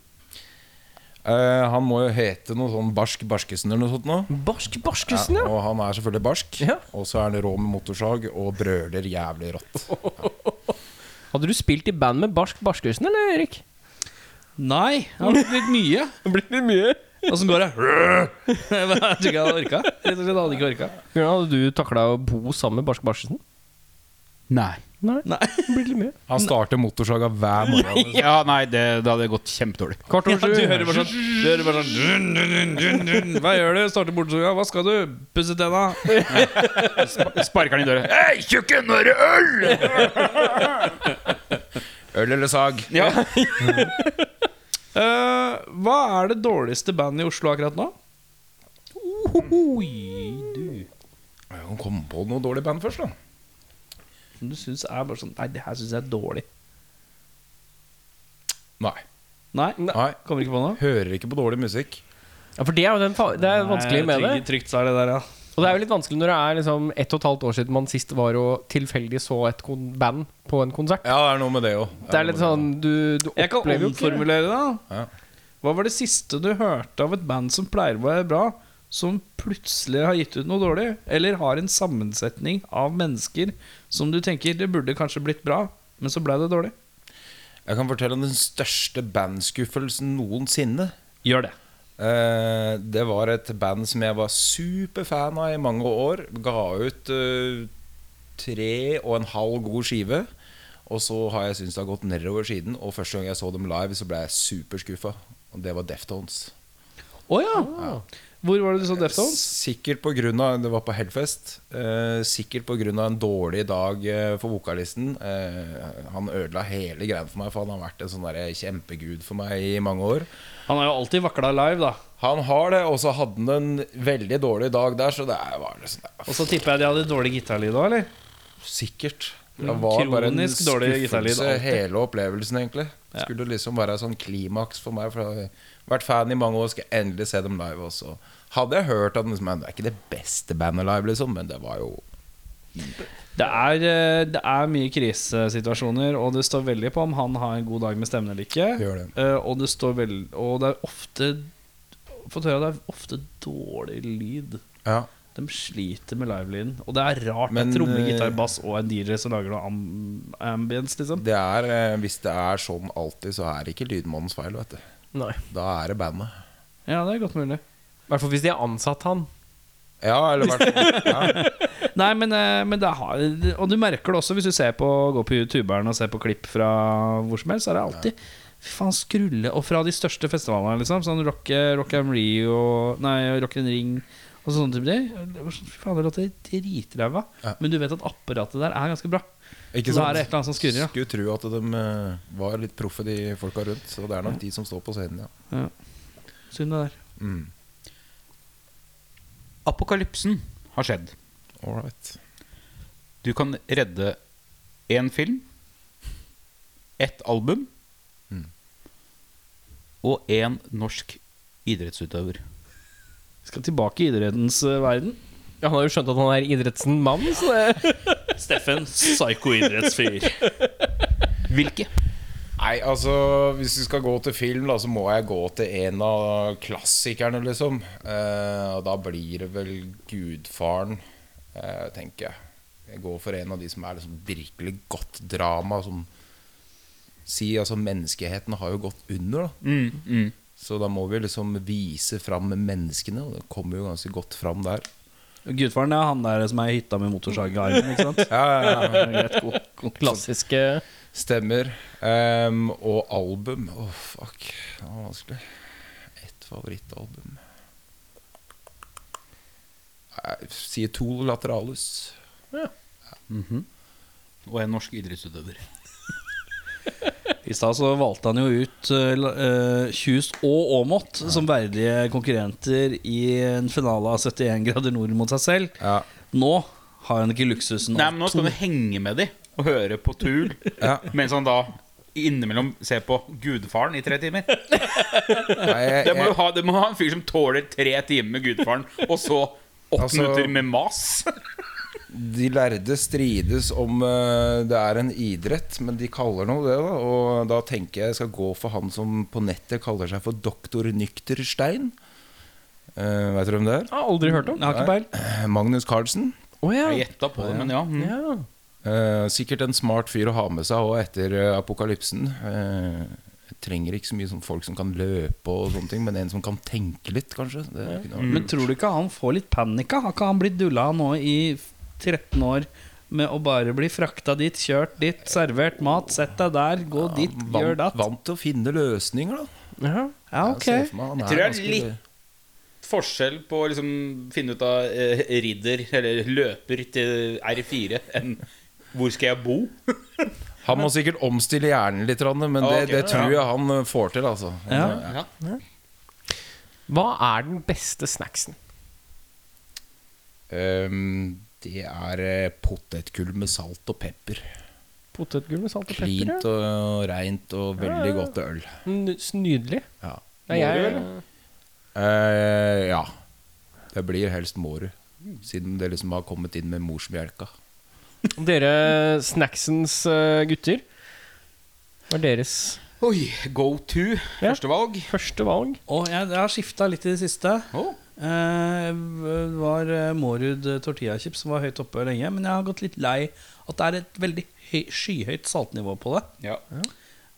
E: Eh, han må jo hete noe sånn Barsk Barskesen eller noe sånt nå.
A: Barsk Barskesen, ja.
E: Og han er selvfølgelig barsk.
A: Ja.
E: Og så er han rå med motorsag og brøler jævlig rått.
A: Hadde du spilt i band med Barsk Barskesen, eller, Erik?
B: Nei, det har blitt mye.
A: Det blir litt mye.
B: Åssen går det? Jeg tror ikke jeg hadde orka. Rett og slett hadde jeg ikke orka.
A: Hvordan hadde du takla å bo sammen med Barsk Barskesen?
C: Nei.
A: Nei.
B: Nei.
A: Det blir litt mye.
E: Han starter motorsaga hver morgen.
C: Ja, nei, det, det hadde gått kjempedårlig.
A: Kvart
B: Ja,
A: over sju.
B: du hører bare sånn, du hører bare sånn dun, dun, dun, dun, dun. Hva gjør du? Starter bortesoga. Hva skal du? Pusse tenna.
C: Sparker han i døra. Hei, tjukken, nå er det øl!
E: Øl eller sag?
C: Ja.
B: Eh, hva er det dårligste bandet i Oslo akkurat nå?
E: Jeg kan komme på noe dårlig band først, da.
B: Som du syns er bare sånn Nei, det her syns jeg er dårlig.
E: Nei.
B: Nei?
E: Nei.
B: Kommer ikke på noe?
E: Hører ikke på dårlig musikk.
A: Ja, for det er jo den fa det er vanskelig med det.
B: Trygt, trygt så er det der, ja.
A: Og det er jo litt vanskelig når det er liksom ett og et halvt år siden man sist var og tilfeldig så et kon band på en konsert.
E: Ja, det er noe med det òg.
A: Det er litt sånn Du, du
B: Jeg kan
A: opplever jo ikke det.
B: omformulere det.
E: Ja.
B: da. Hva var det siste du hørte av et band som pleier å være bra, som plutselig har gitt ut noe dårlig? Eller har en sammensetning av mennesker som du tenker det burde kanskje blitt bra, men så ble det dårlig?
E: Jeg kan fortelle om den største bandskuffelsen noensinne.
B: Gjør det.
E: Eh, det var et band som jeg var superfan av i mange år. Ga ut eh, tre og en halv god skive. Og så har jeg syntes det har gått nedover siden. Og første gang jeg så dem live, så ble jeg superskuffa. Og det var Deftones.
B: Å ja. Hvor var det du så Deftones?
E: Sikkert på grunn av, Det var på Hellfest. Eh, sikkert pga. en dårlig dag eh, for vokalisten. Eh, han ødela hele greia for meg, for han har vært en sånn der kjempegud for meg i mange år.
B: Han har jo alltid vakla live, da.
E: Han har det, og så hadde han en veldig dårlig dag der, så det er- var liksom det
B: Og så tipper jeg de hadde dårlig gitarlyd òg, eller?
E: Sikkert. Det var bare en
B: Mm, Kronisk dårlig gitarlyd,
E: skuffelse
B: alltid.
E: hele opplevelsen, egentlig. Det skulle liksom være sånn klimaks for meg. For jeg har vært fan i mange år, skal jeg endelig se dem live også. Hadde jeg hørt at liksom, Det er ikke det beste bandet live, liksom, men det var jo
B: Det er, eh, det er mye krisesituasjoner, og det står veldig på om han har en god dag med stemmen eller ikke.
E: Det gjør det.
B: Eh, Og det står vel- Og det er ofte Fått høre at det er ofte dårlig lyd.
E: Ja.
B: De sliter med livelyden. Og det er rart
E: Men,
B: at tromme,
E: eh,
B: gitar, bass og en DJ som lager noe am ambience, liksom.
E: Det er, eh, hvis det er sånn alltid, så er det ikke lydmannens feil, vet du.
A: Nei.
E: Da er det bandet.
B: Ja, det er godt mulig.
A: I hvert fall hvis de har ansatt han.
E: Ja, eller i hvert fall ja.
B: Nei, men, eh, men det har Og du merker det også hvis du ser på, går på youtuberen og ser på klipp fra hvor som helst, så er det alltid Fy faen, skrulle Og fra de største festivalene, liksom. Sånn Rock, rock Am Rio Nei, Rock in Ring og sånne type ting. Det var sånn, Fy faen, det låter dritræva.
E: Ja.
B: Men du vet at apparatet der er ganske bra.
E: Ikke
B: Så da er det et eller annet som skurrer, ja.
E: Skulle tro at de eh, var litt proffe, de folka rundt. Så det er nok de som står på scenen, ja.
B: Synd det der.
E: Mm.
C: Apokalypsen har skjedd.
E: All right.
C: Du kan redde én film, ett album
E: Mm.
C: og én norsk idrettsutøver.
B: Vi skal tilbake i idrettens eh, verden.
A: Ja, Han har jo skjønt at han er idrettsmann, så det
B: Steffen, psyko-idrettsfyr.
C: Hvilke?
E: Nei, altså Hvis vi skal gå til film, da, så må jeg gå til en av klassikerne, liksom. Eh, og da blir det vel Gudfaren, eh, tenker jeg. Jeg går for en av de som er liksom virkelig godt drama. Som si, altså Menneskeheten har jo gått under, da.
C: Mm, mm.
E: Så da må vi liksom vise fram menneskene, og det kommer jo ganske godt fram der.
B: Gudfaren er han der som er i hytta med motorsag i armen, ikke sant?
E: Ja, ja, ja.
B: Det er greit, god, god.
A: Klassiske
E: Stemmer. Ehm, og album. Åh, fuck. Det var vanskelig. Ett favorittalbum Nei, Sier Tool Lateralus.
C: Og en norsk idrettsutøver.
B: I stad så valgte han jo ut eh, la- eh, Kjus og Aamodt som verdige konkurrenter i en finale av 71 grader nord mot seg selv.
E: Ja.
B: Nå har han ikke luksusen.
C: Nei, men Nå skal du henge med de og høre på Tool
E: Ja.
C: mens han da innimellom ser på Gudfaren i tre timer.
E: Nei, jeg,
C: Det må jo
E: jeg,
C: ha, det må ha en fyr som tåler tre timer med Gudfaren, og så åtte
E: Altså-
C: minutter med mas.
E: De lærde strides om eh, det er en idrett, men de kaller noe det. da Og da tenker jeg jeg skal gå for han som på nettet kaller seg for doktor Nykterstein. Uh, Veit du hvem det er?
A: Jeg har aldri hørt om.
B: Jeg har ikke peil.
C: Ah.
E: Magnus Carlsen.
A: Å ja.
C: Jeg gjetta på det, men ja. Mm.
A: ja.
E: Eh, sikkert en smart fyr å ha med seg òg etter eh, apokalypsen. Eh, jeg trenger ikke så mye sånn folk som kan løpe, og sånne ting men en som kan tenke litt, kanskje. Det kunne vært
B: Mm. Men tror du ikke han får litt panikk? da? Har ikke han blitt dulla nå i 13 år med å bare bli frakta dit, kjørt dit, servert mat, sett deg der, gå dit,
E: vant,
B: gjør datt?
E: vant altså, til å finne løsninger, da.
A: ja.
B: Ja, ok.
E: Jeg ser for meg han
C: Jeg
E: er
C: tror det er
E: ganske-
C: litt forskjell på å liksom finne ut av eh, ridder eller løper til R4 enn hvor skal jeg bo?
E: Han må sikkert omstille hjernen litt, Rande, men det,
C: Ah, Ok,
E: det
C: ja.
E: tror jeg han eh, får til. Altså.
B: Ja.
C: Ja.
A: Hva er den beste snacksen?
E: Ehm, det er eh, potetgull med salt og pepper.
A: Potetgull med salt og pepper?
E: Klint og reint og veldig godt til øl.
A: ja. N- s- Nydelig.
E: Ja.
A: Det er jeg,
E: Eh, ja. Det blir helst Mårud, siden det liksom har kommet inn med morsmelka.
A: dere snacksens eh, gutter, hva er deres
C: Oi, go to.
A: Ja.
C: Førstevalg.
A: første valg?
B: Og jeg, jeg har skifta litt i det siste.
C: Oh.
B: Eh, Det var eh, Mårud tortillachips som var høyt oppe lenge, men jeg har gått litt lei at det er et veldig høy, skyhøyt saltnivå på det.
C: Ja.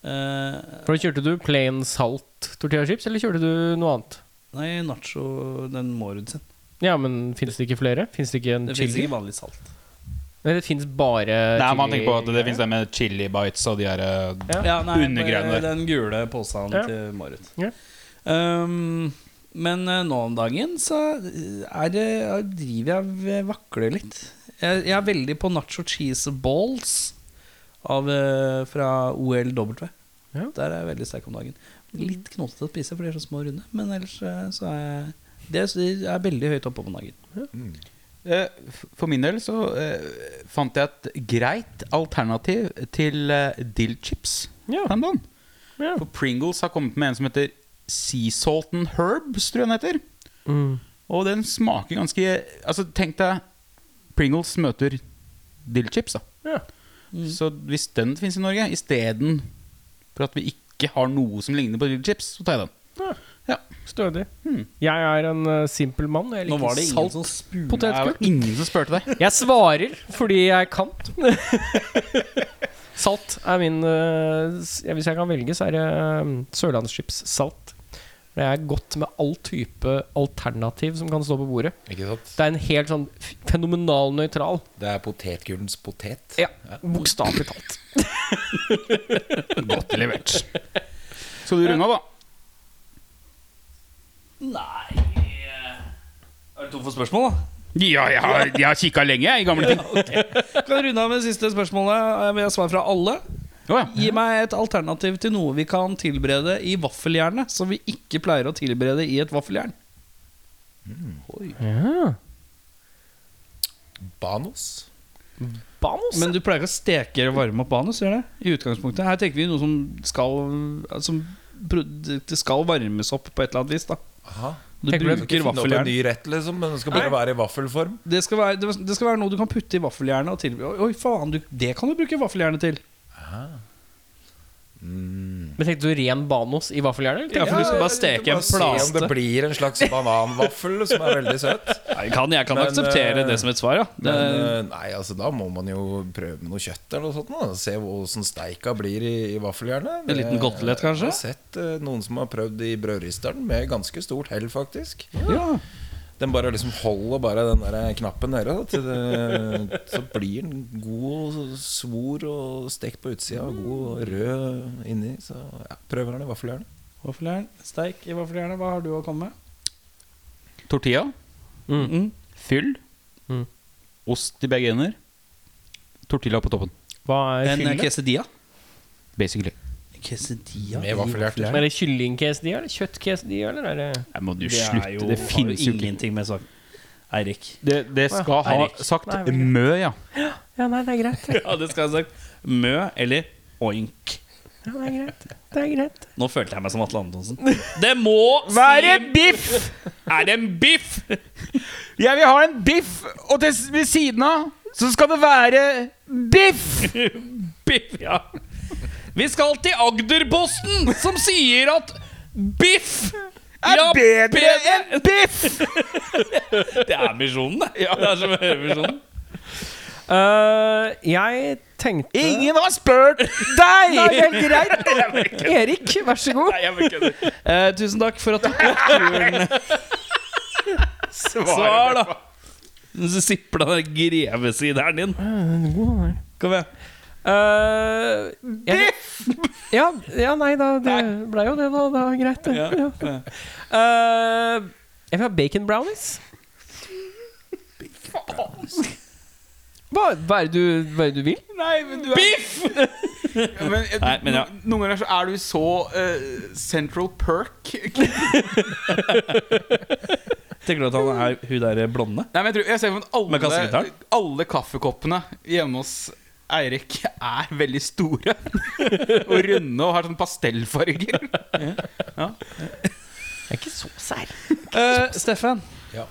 B: Eh,
A: For da Kjørte du plain salt tortillachips, eller kjørte du noe annet?
B: nei, nacho, den Mårud sin.
A: Ja, men fins det ikke flere? Fins det ikke en
B: Det fins
A: chili?
B: ikke vanlig salt.
A: Nei, det fins bare
C: Nei,
A: chili.
C: man tenker på at det finnes det med chili bites og de her eh,
A: Ja.
B: Ja, nei,
C: Undergreiene der.
B: Den gule posen
A: Ja.
B: til Mårud.
A: Ja.
B: Um, men eh, nå om dagen så er det, jeg driver jeg v- vakler litt. Jeg, jeg er veldig på nacho cheese balls av, eh, fra OLW.
A: Ja.
B: Der er jeg veldig sterk om dagen. Litt knotete å spise, for de er så små og runde. Men ellers eh, så er jeg det er veldig høyt oppe om dagen.
C: eh, f- For min del så eh, fant jeg et greit alternativ til eh, dill chips.
A: Ja.
C: Den dagen.
A: Ja.
C: For Pringles har kommet med en som heter Sea Salt and Herbs, tror jeg den heter.
A: Mm.
C: Og den smaker ganske Altså, tenk deg Pringles møter dill chips, da.
A: Ja.
C: Så hvis den finnes i Norge, istedenfor Mm. at vi ikke har noe som ligner på dill chips, så tar jeg den.
A: Stødig. Jeg er en eh, simpel mann. og Jeg
B: Hmm. Nå var det
A: liker
B: ingen
A: salt
B: som
C: Det
B: spurte.
A: potetgull.
C: var ingen som spurte deg.
A: Jeg svarer fordi jeg kan. salt er min eh, s- ja, Hvis jeg kan velge, så er det eh, sørlandschips salt. Det er godt med all type alternativ som kan stå på bordet.
E: Ikke sant?
A: Det er en helt sånn f- fenomenal nøytral.
E: Det er potetgullens potet.
A: Ja, Bokstavelig talt.
C: Godt levert. Skal du runde av, da?
B: Nei eh, Er du tom for spørsmål, da?
C: Ja, jeg har, jeg har kikka lenge, jeg, i gamle ting.
B: Kan runde av med det siste spørsmålet. Jeg vil ha svar fra alle.
C: Å, ja.
B: Gi meg et alternativ til noe vi kan tilberede i vaffeljernet, som vi ikke pleier å tilberede i et vaffeljern.
E: Banos.
A: Banos.
B: Men du pleier ikke å steke eller varme opp banes, gjør det? I utgangspunktet. Her tenker vi noe som skal Som pro- det skal varmes opp på et eller annet vis, da.
E: Aha.
B: Du
A: Tenker du-
B: bruker
E: Finne opp en
B: vaffeljern.
E: ny rett, liksom, men den skal bare være i vaffelform.
B: Det skal, være, det det skal være noe du kan putte i vaffeljernet og tilberede Oi, faen, du, det kan du bruke vaffeljernet til.
A: Men tenkte du ren Banos i vaffeljernet? eller
B: Ja,
A: tenkte
B: for du
A: du-
B: skal bare steke en
E: Bare Se om det
B: plaste.
E: blir en slags bananvaffel som er veldig søt.
B: Nei, kan, jeg kan
E: Men,
B: akseptere
E: eh,
B: det som et svar, ja. Det,
E: Men eh, nei, altså da må man jo prøve med noe kjøtt eller noe sånt. Da. Se åssen steika blir i, i vaffeljernet.
B: En liten kotelett, kanskje?
E: Jeg har sett eh, noen som har prøvd i brødristeren med ganske stort hell, faktisk.
B: ja.
E: Den bare liksom holder bare den der knappen nede, da, til det, så blir den god og svor og stekt på utsida og god og rød inni. Så ja, prøver den i vaffeljernet.
B: Vaffeljern, steik i vaffeljernet. Hva har du å komme med?
C: Tortilla,
B: Mm.
C: fyll,
A: Mm.
C: ost i begge ender, tortilla på toppen.
A: Hva er
B: En
A: kylling?
B: quesadilla.
C: Basically.
B: Quesadilla
E: Med vaffeljern.
A: Er det kyllingcasdia eller kjøttcasdia? Eller er det
C: Nei, må du
B: Det
C: slutte.
B: er
C: Det,
B: jo, har
C: finnes
B: jo
C: jo ikke.
B: ingenting med saken. Eirik.
C: Det, det skal ha
B: Eirik.
C: sagt
A: Nei, vel.
C: mø, ja.
A: Ja, nei, det er greit.
B: Ja, det skal jeg ha sagt. Mø eller oink.
A: Ja, det er greit. Det er greit.
B: Nå følte jeg meg som Atle Antonsen. Det må
C: Være biff! Er det en biff? Jeg vil ha en biff, og til, ved siden av
A: så skal det være biff! biff, ja. Vi skal til Agderposten, som sier at biff er bedre, enn biff! det er misjonen, det. Det er som å høre misjonen. Eh, jeg tenkte Ingen har spurt deg! Nei, det er greit. Erik, vær så god.
B: Eh, tusen takk for at du tok turen. Svar, da! Så sipper den der grevesideren din. Kom igjen.
A: Eh, jeg- Ja, ja, nei da. Det ble jo det, da. Det var greit, det. Ja. Eh, jeg vil ha bacon brownies. Hva, hva, er det du, hva er det du vil?
C: Nei, men du er Biff! ja, men, eh,
B: Nei, men ja.
C: no- Noen ganger så er du så eh, Central Perk.
B: Tenker du at han er hun der blonde?
C: Nei, men jeg, tror, jeg ser for
B: Med
C: meg at alle,
B: kassegitaren?
C: alle kaffekoppene hjemme hos Eirik er veldig store og runde og har sånn pastellfarger.
A: Jeg er ikke så sær.
B: Eh, Steffen,
E: Ja.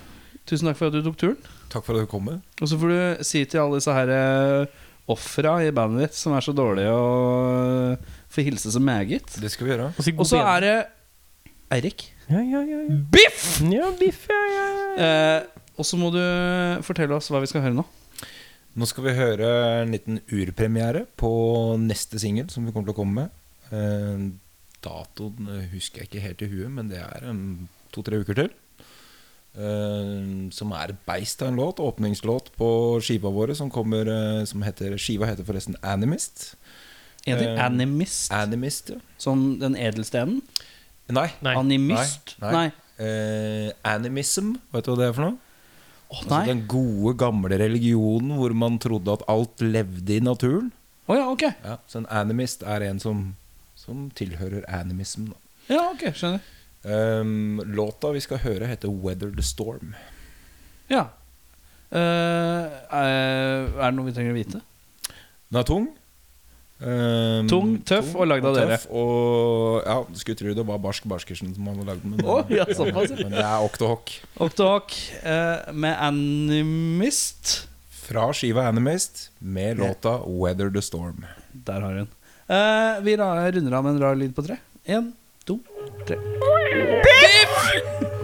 B: tusen takk for at du tok turen.
E: Takk for at du kom.
B: Og så får du si til alle disse her eh, ofra i bandet ditt som er så dårlige, og eh, få hilse så meget.
E: Det skal vi gjøre.
B: Og så er det Eirik.
A: ja, ja, ja, ja.
B: Biff!
A: ja, biff, ja, ja.
B: Eh, og så må du fortelle oss hva vi skal høre nå.
E: Nå skal vi høre en liten urpremiere på neste singel som vi kommer til å komme med. Eh, datoen husker jeg ikke helt i huet, men det er um, to-tre uker til. Eh, som er et beist av en låt. Åpningslåt på skiva våre som kommer eh, som heter, Skiva heter forresten Animist.
B: En ting,
E: Eh,
B: Animist.
E: Animist, ja.
B: Som den edelstenen?
E: Nei.
A: Nei.
B: Animist?
E: Nei,
B: Nei.
E: nei. Eh, animism, vet du hva det er for noe?
B: Å,
E: Altså
B: nei.
E: den gode, gamle religionen hvor man trodde at alt levde i naturen.
B: Å ja, ok.
E: Ja, så en animist er en som, som tilhører animism. Da.
B: Ja, ok, skjønner.
E: Ehm, låta vi skal høre, heter 'Weather the Storm'.
B: Ja. Eh, er er det noe vi trenger å vite?
E: Den er tung. Ehm,
B: Tung, tøff og lagd av
E: og
B: dere.
E: tøff, Og ja, skulle tro det var Barsk Barskersen som hadde lagd den. Men,
B: Å, ja, såpass, ja.
E: men det er Octohock.
B: Octohawk eh, med Animist.
E: Fra skiva 'Animist' med låta 'Weather the Storm'.
B: Der har hun. Eh, vi ra- runder av med en rar lyd på tre. Én, to, tre.
A: Biff!